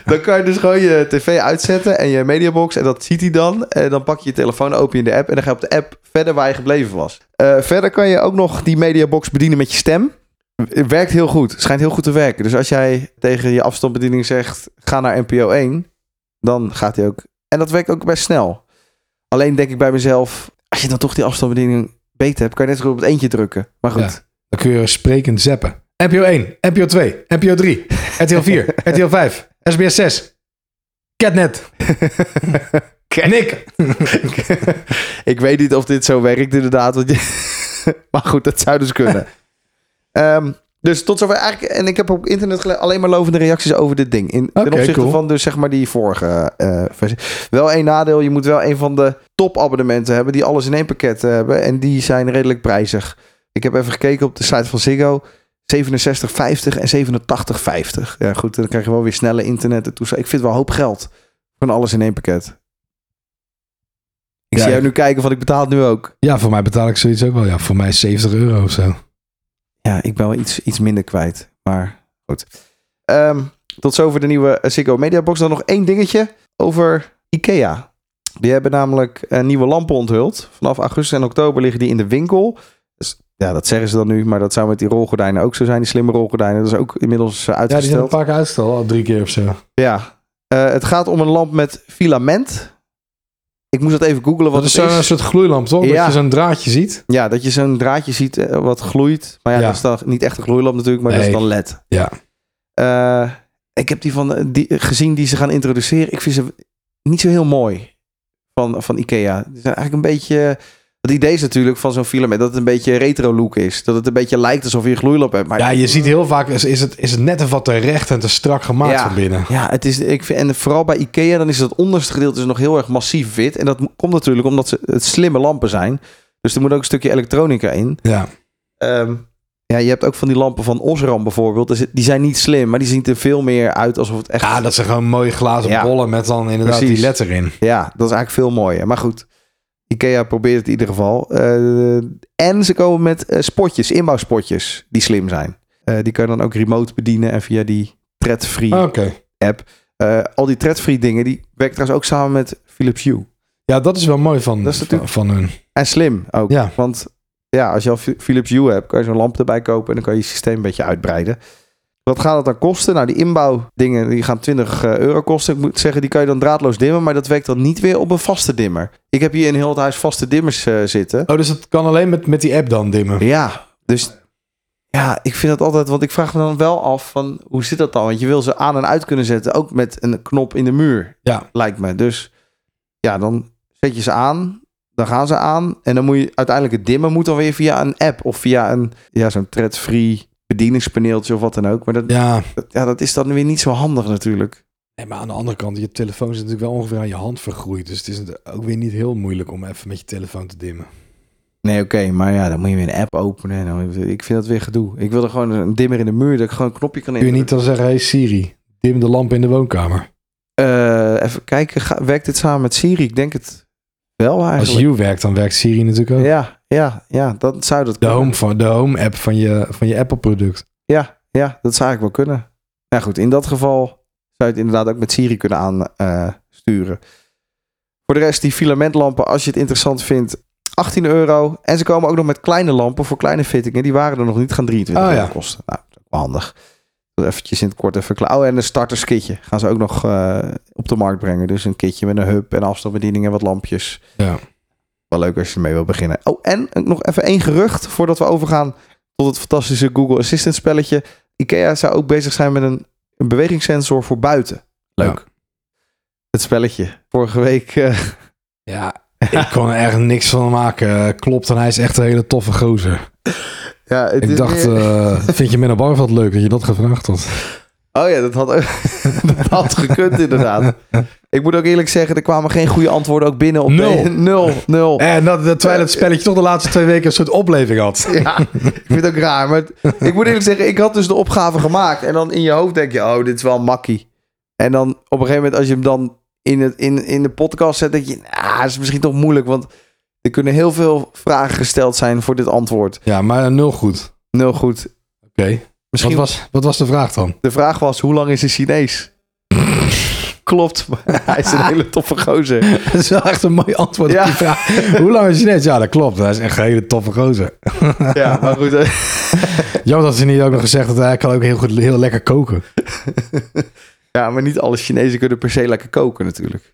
S2: dan kan je dus gewoon je tv uitzetten en je mediabox. En dat ziet hij dan. En dan pak je je telefoon, open je de app. En dan ga je op de app verder waar je gebleven was. Eh, verder kan je ook nog die mediabox bedienen met je stem. Het werkt heel goed. Het schijnt heel goed te werken. Dus als jij tegen je afstandsbediening zegt... ga naar NPO 1, dan gaat hij ook... En dat werkt ook best snel. Alleen denk ik bij mezelf... als je dan toch die afstandsbediening beter hebt... kan je net zo goed op het eentje drukken. Maar goed...
S1: Ja. Dan kun je sprekend zappen. NPO 1, NPO 2, NPO
S2: *laughs*
S1: 3, RTL 4, RTL 5, SBS 6,
S2: *laughs*
S1: Catnet. Nick.
S2: ik weet niet of dit zo werkt, inderdaad. Want je... *laughs* maar goed, dat zou dus kunnen. *laughs* Ehm, dus tot zover eigenlijk. En ik heb op internet gele- alleen maar lovende reacties over dit ding. In,
S1: Oké,
S2: ten opzichte
S1: cool.
S2: van dus zeg maar die vorige eh, versie. Wel één nadeel. Je moet wel een van de topabonnementen hebben. Die alles in één pakket hebben. En die zijn redelijk prijzig. Ik heb even gekeken op de site van Ziggo. 67,50 en 87,50. Ja goed, dan krijg je wel weer snelle internet en toestel. Ik vind wel een hoop geld. Van alles in één pakket. Ik
S1: Ja,
S2: zie jou
S1: ik-
S2: nu kijken van ik betaal het nu ook.
S1: Ja, voor mij betaal ik zoiets ook wel. Ja, voor mij is 70 euro of zo.
S2: Ja, ik ben wel iets, iets minder kwijt. Maar goed. Ehm, tot zover de nieuwe eh, Ziggo Media Box. Dan nog één dingetje over IKEA. Die hebben namelijk eh, nieuwe lampen onthuld. Vanaf augustus en oktober liggen die in de winkel. Dus, ja, dat zeggen ze dan nu. Maar dat zou met die rolgordijnen ook zo zijn. Die slimme rolgordijnen. Dat is ook inmiddels eh,
S1: Ja, die zijn een
S2: uitgesteld.
S1: paar keer uitstel, al drie keer of zo.
S2: Ja, Eh, het gaat om een lamp met filament. Ik moest dat even googlen wat
S1: Dat is
S2: het
S1: zo'n
S2: is.
S1: soort gloeilamp, toch?
S2: Ja.
S1: Dat je zo'n draadje ziet.
S2: Ja, dat je zo'n draadje ziet eh, wat gloeit. Maar ja,
S1: Ja.
S2: dat is dan niet echt een gloeilamp natuurlijk, maar dat
S1: Nee.
S2: is dan LED.
S1: Ja.
S2: Eh, ik heb die van eh, die, gezien die ze gaan introduceren. Ik vind ze niet zo heel mooi van, van Ikea. Die zijn eigenlijk een beetje... Het idee is natuurlijk van zo'n filament dat het een beetje retro look is. Dat het een beetje lijkt alsof je een gloeilamp hebt. Maar
S1: Ja, je ziet heel vaak, is, is, het, is het net even wat te recht en te strak gemaakt
S2: Ja.
S1: van binnen.
S2: Ja, het is, ik vind, en vooral bij Ikea, dan is dat onderste gedeelte dus nog heel erg massief wit. En dat mo- komt natuurlijk omdat ze het slimme lampen zijn. Dus er moet ook een stukje elektronica in.
S1: Ja.
S2: Ehm, ja, je hebt ook van die lampen van Osram bijvoorbeeld. Dus die zijn niet slim, maar die zien er veel meer uit alsof het echt...
S1: ja, dat zijn gewoon mooie glazen
S2: Ja.
S1: bollen met dan inderdaad
S2: Precies.
S1: die letter in.
S2: Ja, dat is eigenlijk veel mooier. Maar goed, Ikea probeert het in ieder geval. Eh, en ze komen met eh, spotjes, inbouwspotjes, die slim zijn. Eh, die kan je dan ook remote bedienen en via die thread-free.
S1: Oké.
S2: Eh, al die thread-free dingen, die werken trouwens ook samen met Philips Hue.
S1: Ja, dat is wel mooi van,
S2: Dat is natuurlijk-
S1: van, van hun.
S2: En slim ook,
S1: Ja.
S2: want ja, als je al Phi- Philips Hue hebt, kan je zo'n lamp erbij kopen en dan kan je je systeem een beetje uitbreiden. Wat gaat dat dan kosten? Nou, die inbouwdingen die gaan 20 euro kosten. Ik moet zeggen, die kan je dan draadloos dimmen, maar dat werkt dan niet weer op een vaste dimmer. Ik heb hier in heel het huis vaste dimmers eh, zitten.
S1: Oh, dus dat kan alleen met, met die app dan dimmen.
S2: Ja, dus ja, ik vind dat altijd, want ik vraag me dan wel af van hoe zit dat dan? Want je wil ze aan en uit kunnen zetten, ook met een knop in de muur,
S1: Ja.
S2: lijkt me. Dus ja, dan zet je ze aan, dan gaan ze aan en dan moet je uiteindelijk het dimmen moet dan weer via een app of via een ja zo'n thread-free bedieningspaneeltje of wat dan ook. Maar dat,
S1: Ja.
S2: dat- ja, dat is dan weer niet zo handig natuurlijk.
S1: Nee, maar aan de andere kant, je telefoon is natuurlijk wel ongeveer aan je hand vergroeid. Dus het is ook weer niet heel moeilijk om even met je telefoon te dimmen.
S2: Nee, oké, maar ja, dan moet je weer een app openen. En dan, ik vind dat weer gedoe. Ik wil er gewoon een dimmer in de muur, dat ik gewoon een knopje kan
S1: Kun je
S2: indrukken.
S1: niet dan zeggen, hey Siri, dim de lamp in de woonkamer.
S2: Eh, even kijken, ga- werkt dit samen met Siri? Ik denk het wel
S1: Als
S2: eigenlijk.
S1: Hue werkt, dan werkt Siri natuurlijk ook.
S2: Ja, ja, ja, dat zou dat
S1: De
S2: kunnen.
S1: home, van, de home app van je, van je Apple product.
S2: Ja, ja, dat zou eigenlijk wel kunnen. Nou goed, in dat geval zou je het inderdaad ook met Siri kunnen aansturen. Voor de rest, die filamentlampen, als je het interessant vindt, 18 euro. En ze komen ook nog met kleine lampen voor kleine fittingen. Die waren er nog niet, gaan 23
S1: Oh, ja.
S2: euro kosten. Nou, dat is ook wel handig. Dat Eventjes in het kort even klaar. Oh, en een starterskitje gaan ze ook nog eh, op de markt brengen. Dus een kitje met een hub en afstandsbediening en wat lampjes.
S1: Ja.
S2: Wel leuk als je ermee wil beginnen. Oh, en nog even één gerucht voordat we overgaan tot het fantastische Google Assistant spelletje. IKEA zou ook bezig zijn met een, een bewegingssensor voor buiten. Leuk. Het spelletje. Vorige week. eh,
S1: Ja, ik kon er echt niks van maken. Eh, Klopt, en hij is echt een hele toffe gozer.
S2: *laughs* ja, het
S1: Ik
S2: is
S1: dacht,
S2: weer-
S1: eh, vind je Menno Barveld leuk dat je dat gevraagd had? eh,
S2: Oh ja, dat had, *laughs* dat had gekund
S1: *laughs*
S2: inderdaad. Ik moet ook eerlijk zeggen, er kwamen geen goede antwoorden ook binnen. Op
S1: Nul.
S2: de- *laughs* nul, nul.
S1: En dat, dat- terwijl het spelletje toch de laatste twee weken een soort opleving had.
S2: *laughs* Ja, ik vind het ook raar. Maar het- ik moet eerlijk zeggen, ik had dus de opgave gemaakt. En dan in je hoofd denk je, oh, dit is wel makkie. En dan op een gegeven moment, als je hem dan in, het, in, in de podcast zet, denk je, ah, dat is misschien toch moeilijk. Want er kunnen heel veel vragen gesteld zijn voor dit antwoord.
S1: Ja, maar nul goed.
S2: Nul goed.
S1: Oké. Wat,
S2: Misschien was...
S1: was, wat was de vraag dan?
S2: De vraag was, hoe lang is een Chinees? Klopt, *laughs* maar hij is een hele toffe gozer.
S1: *laughs* Dat is wel echt een mooi antwoord
S2: Ja.
S1: op die vraag. *laughs* Hoe lang is je net? Ja, dat klopt. Hij is echt een hele toffe gozer.
S2: Ja, maar goed. eh,
S1: Jammer dat ze niet ook nog gezegd dat hij kan ook heel, goed, heel lekker koken.
S2: Ja, maar niet alle Chinezen kunnen per se lekker koken natuurlijk.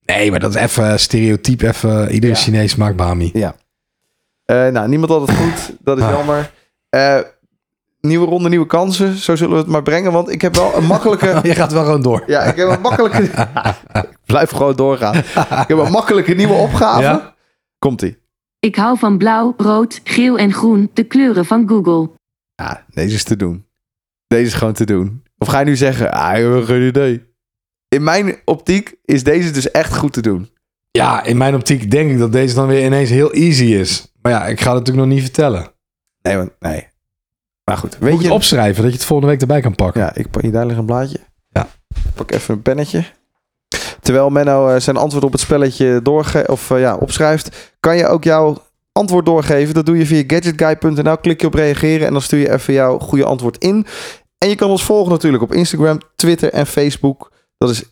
S1: Nee, maar dat is even stereotyp. Even, iedere
S2: Ja.
S1: Chinees maakt bami.
S2: Eh, nou, niemand had het goed. Dat is
S1: Ah.
S2: jammer. Eh, nieuwe ronde, nieuwe kansen. Zo zullen we het maar brengen. Want ik heb wel een
S1: *laughs*
S2: makkelijke...
S1: *laughs* Je gaat wel gewoon door.
S2: ja, ik heb een makkelijke...
S1: *laughs*
S2: ik blijf gewoon doorgaan. Ik heb een makkelijke nieuwe opgave.
S1: Ja?
S2: Komt-ie.
S3: Ik hou van blauw, rood, geel en groen, de kleuren van Google.
S2: Ja, deze is te doen. Deze is gewoon te doen. Of ga je nu zeggen, ah, ik heb geen idee. In mijn optiek is deze dus echt goed te doen.
S1: Ja, in mijn optiek denk ik dat deze dan weer ineens heel easy is. Maar ja, ik ga het natuurlijk nog niet vertellen.
S2: Nee, want... Nee. Maar goed,
S1: Moet
S2: weet
S1: je
S2: je...
S1: het opschrijven, dat je het volgende week erbij kan pakken.
S2: Ja, ik pak je daar ligt een blaadje.
S1: Ja.
S2: Ik Pak even een pennetje. Terwijl Menno eh, zijn antwoord op het spelletje doorge of, eh, ja, opschrijft, kan je ook jouw antwoord doorgeven. Dat doe je via gadgetguy.nl. Klik je op reageren en dan stuur je even jouw goede antwoord in. En je kan ons volgen natuurlijk op Instagram, Twitter en Facebook. Dat is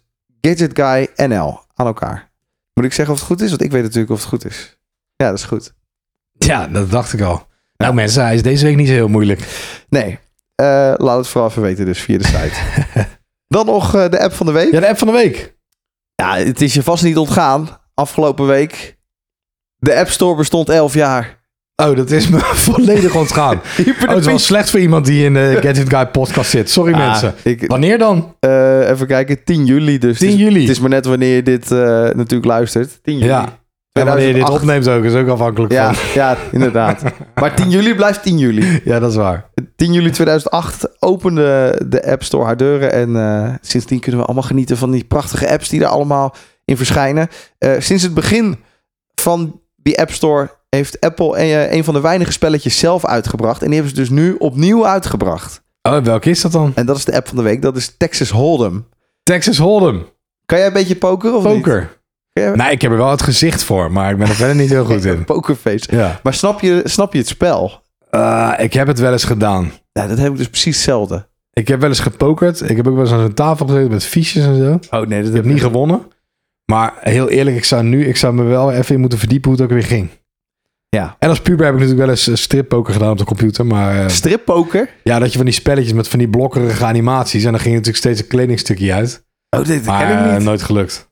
S2: gadgetguynl aan elkaar. Moet ik zeggen of het goed is? Want ik weet natuurlijk of het goed is. Ja, dat is goed.
S1: Ja, dat dacht ik al. Nou mensen, hij is deze week niet zo heel moeilijk.
S2: Nee, eh, laat het vooral even weten dus via de site.
S1: *laughs*
S2: dan nog eh, de app van de week.
S1: Ja, de app van de week.
S2: Ja, het is je vast niet ontgaan. Afgelopen week. De App Store bestond 11 jaar.
S1: Oh, dat is me volledig *laughs* ontgaan. *laughs* Oh,
S2: Hyper
S1: het is wel slecht voor iemand die in de *laughs* Gadget Guy podcast zit. Sorry mensen.
S2: Ik,
S1: Wanneer dan?
S2: eh, even kijken, 10 juli dus.
S1: 10
S2: Dus
S1: juli.
S2: Het is maar net wanneer je dit eh, natuurlijk luistert. 10 juli.
S1: Ja. En wanneer je dit
S2: 2008.
S1: opneemt ook, is ook afhankelijk
S2: Ja,
S1: van. *laughs*
S2: ja, inderdaad. maar 10 juli blijft 10 juli.
S1: Ja, dat is waar.
S2: 10 juli 2008 opende de App Store haar deuren. En eh, sindsdien kunnen we allemaal genieten van die prachtige apps die er allemaal in verschijnen. Eh, sinds het begin van die App Store heeft Apple eh, een van de weinige spelletjes zelf uitgebracht. En die hebben ze dus nu opnieuw uitgebracht.
S1: Oh, welke is dat dan?
S2: En dat is de app van de week. Dat is Texas Hold'em.
S1: Texas Hold'em.
S2: Kan jij een beetje poker of niet?
S1: Poker.
S2: Kan jij-
S1: Nou, ik heb er wel het gezicht voor, maar ik ben er verder niet heel goed *laughs* in.
S2: Pokerface.
S1: Ja.
S2: Maar snap je, snap je het spel?
S1: Eh, ik heb het wel eens gedaan.
S2: Nou, dat heb ik dus precies hetzelfde.
S1: Ik heb wel eens gepokerd. Ik heb ook wel eens aan zo'n tafel gezeten met fiches en zo.
S2: Oh nee, dat
S1: Ik heb niet gewonnen. Maar heel eerlijk, ik zou nu, ik zou me wel even in moeten verdiepen hoe het ook weer ging.
S2: Ja.
S1: En als puber heb ik natuurlijk wel eens eh, strippoker gedaan op de computer. Maar eh,
S2: Strippoker?
S1: ja, dat je van die spelletjes met van die blokkerige animaties. En dan ging natuurlijk steeds een kledingstukje uit.
S2: Oh, dit
S1: Maar
S2: ken ik
S1: eh,
S2: niet.
S1: nooit gelukt.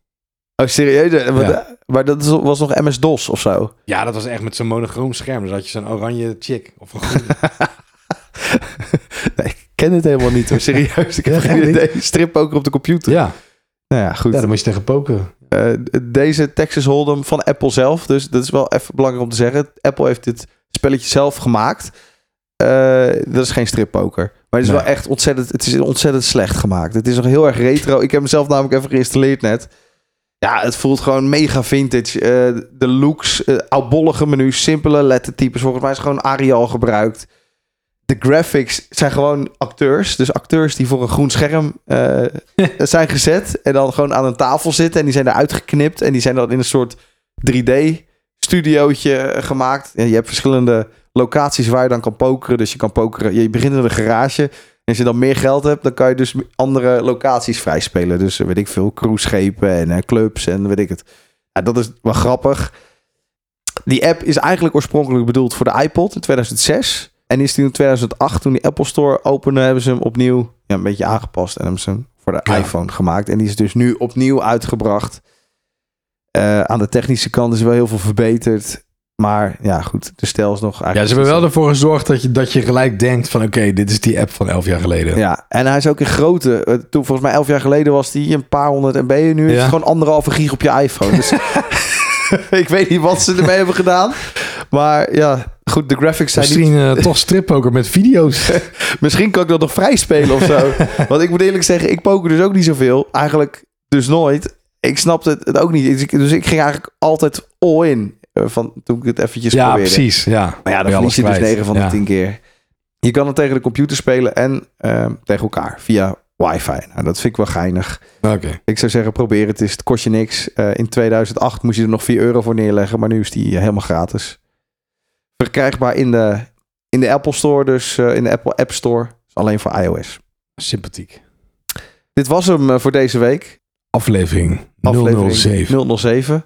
S2: Oh, serieus? Eh, wat-
S1: Ja.
S2: eh, Maar dat is- was nog MS-DOS of zo?
S1: Ja, dat was echt met zo'n monochroom scherm. Dus had je zo'n oranje chick. Of een *laughs* groene.
S2: Nee, ik ken het helemaal niet *laughs* hoor, serieus. Ik heb
S1: Ja,
S2: geen
S1: echt niet?
S2: idee. Strippoker op de computer.
S1: ja.
S2: Nou ja, goed.
S1: ja, dan moest je tegen pokeren.
S2: Eh, deze Texas Hold'em van Apple zelf. Dus dat is wel even belangrijk om te zeggen. Apple heeft dit spelletje zelf gemaakt. Eh, dat is geen strippoker. Maar het is
S1: Nee.
S2: wel echt ontzettend, het is ontzettend slecht gemaakt. Het is nog heel erg retro. Ik heb hem zelf namelijk even geïnstalleerd net. Ja, het voelt gewoon mega vintage. Eh, de looks, eh oudbollige menus, simpele lettertypes. Volgens mij is gewoon Arial gebruikt. De graphics zijn gewoon acteurs. Dus acteurs die voor een groen scherm eh, *laughs* zijn gezet. En dan gewoon aan een tafel zitten. En die zijn eruit geknipt. En die zijn dan in een soort 3D-studiootje eh, gemaakt. En je hebt verschillende locaties waar je dan kan pokeren. Dus je kan pokeren. Je begint in een garage. En als je dan meer geld hebt, dan kan je dus andere locaties vrijspelen. Dus eh, weet ik veel, cruiseschepen en eh, clubs en weet ik het. Ja, dat is wel grappig. Die app is eigenlijk oorspronkelijk bedoeld voor de iPod in 2006. En is die in 2008, toen die Apple Store opende, hebben ze hem opnieuw ja, een beetje aangepast. En hebben ze hem voor de
S1: Ja.
S2: iPhone gemaakt. En die is dus nu opnieuw uitgebracht. Eh, aan de technische kant is wel heel veel verbeterd. Maar ja, goed, de stijl is nog
S1: Ja,
S2: eigenlijk...
S1: ze hebben wel ervoor gezorgd dat je, dat je gelijk denkt van... Oké, dit is die app van elf jaar geleden.
S2: Ja, en hij is ook in grootte. Eh, Toen volgens mij elf jaar geleden was hij een paar honderd MB. En nu is
S1: Ja.
S2: het gewoon anderhalve gig op je
S1: *laughs*
S2: iPhone. Dus ik weet niet wat ze ermee hebben gedaan. Maar ja, goed, de graphics zijn
S1: Misschien
S2: niet...
S1: eh, toch strippoker met
S2: *laughs*
S1: video's.
S2: Misschien kan ik dat nog vrij spelen of
S1: *laughs*
S2: zo. Want ik moet eerlijk zeggen, ik poker dus ook niet zoveel. Eigenlijk dus nooit. Ik snapte het, het ook niet. Dus ik- Dus ik ging eigenlijk altijd all in. eh, Van toen ik het eventjes
S1: ja,
S2: probeerde.
S1: precies. Ja.
S2: Maar ja, dan
S1: Ben alles
S2: verlies je dus
S1: kwijt.
S2: 9 van
S1: Ja.
S2: de 10 keer. Je kan het tegen de computer spelen en ehm, tegen elkaar via wifi. Nou, dat vind ik wel geinig.
S1: Oké.
S2: Ik zou zeggen, probeer het eens. Het kost je niks. Eh, in 2008 moest je er nog 4 euro voor neerleggen, maar nu is die eh, helemaal gratis. Verkrijgbaar in de, in de Apple Store, dus eh, in de Apple App Store. Dus alleen voor iOS.
S1: Sympathiek.
S2: Dit was hem eh, voor deze week.
S1: Aflevering,
S2: aflevering
S1: 007.
S2: 007.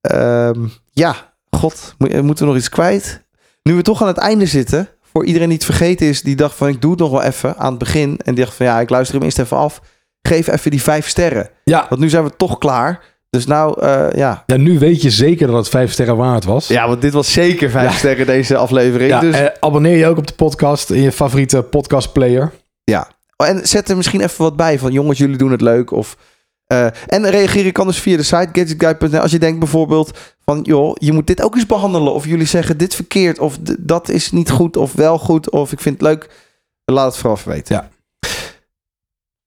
S2: Ehm, ja, god, mo- eh, moeten we nog iets kwijt? Nu we toch aan het einde zitten, voor iedereen die het vergeten is, die dacht van ik doe het nog wel even aan het begin en die dacht van ja, ik luister hem eerst even af. Geef even die vijf sterren,
S1: Ja.
S2: want nu zijn we toch klaar. Dus nou, eh, ja.
S1: ja, nu weet je zeker dat het vijf sterren waard was.
S2: Ja, want dit was zeker vijf
S1: Ja.
S2: sterren deze aflevering.
S1: Ja,
S2: dus,
S1: eh, abonneer je ook op de podcast in je favoriete podcastplayer.
S2: ja. Oh, En zet er misschien even wat bij van jongens, jullie doen het leuk of... eh, en reageren kan dus via de site gadgetguy.nl. Als je denkt bijvoorbeeld van joh, je moet dit ook eens behandelen. Of jullie zeggen dit verkeerd, of d- dat is niet goed, of wel goed, of ik vind het leuk. Laat het vooraf weten.
S1: Ja.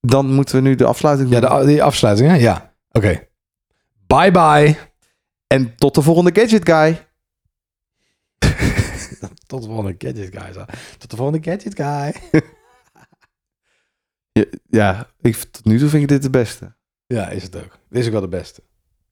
S2: Dan moeten we nu de afsluiting
S1: Ja,
S2: doen.
S1: de, a- die afsluiting, hè? Ja. Oké. Bye bye.
S2: En tot de volgende Gadget Guy.
S1: Tot de volgende Gadget Guy. zo. Tot de volgende Gadget Guy.
S2: Ja, ik, tot nu toe vind ik dit de beste.
S1: Ja, is het ook. Dit is ook wel de beste.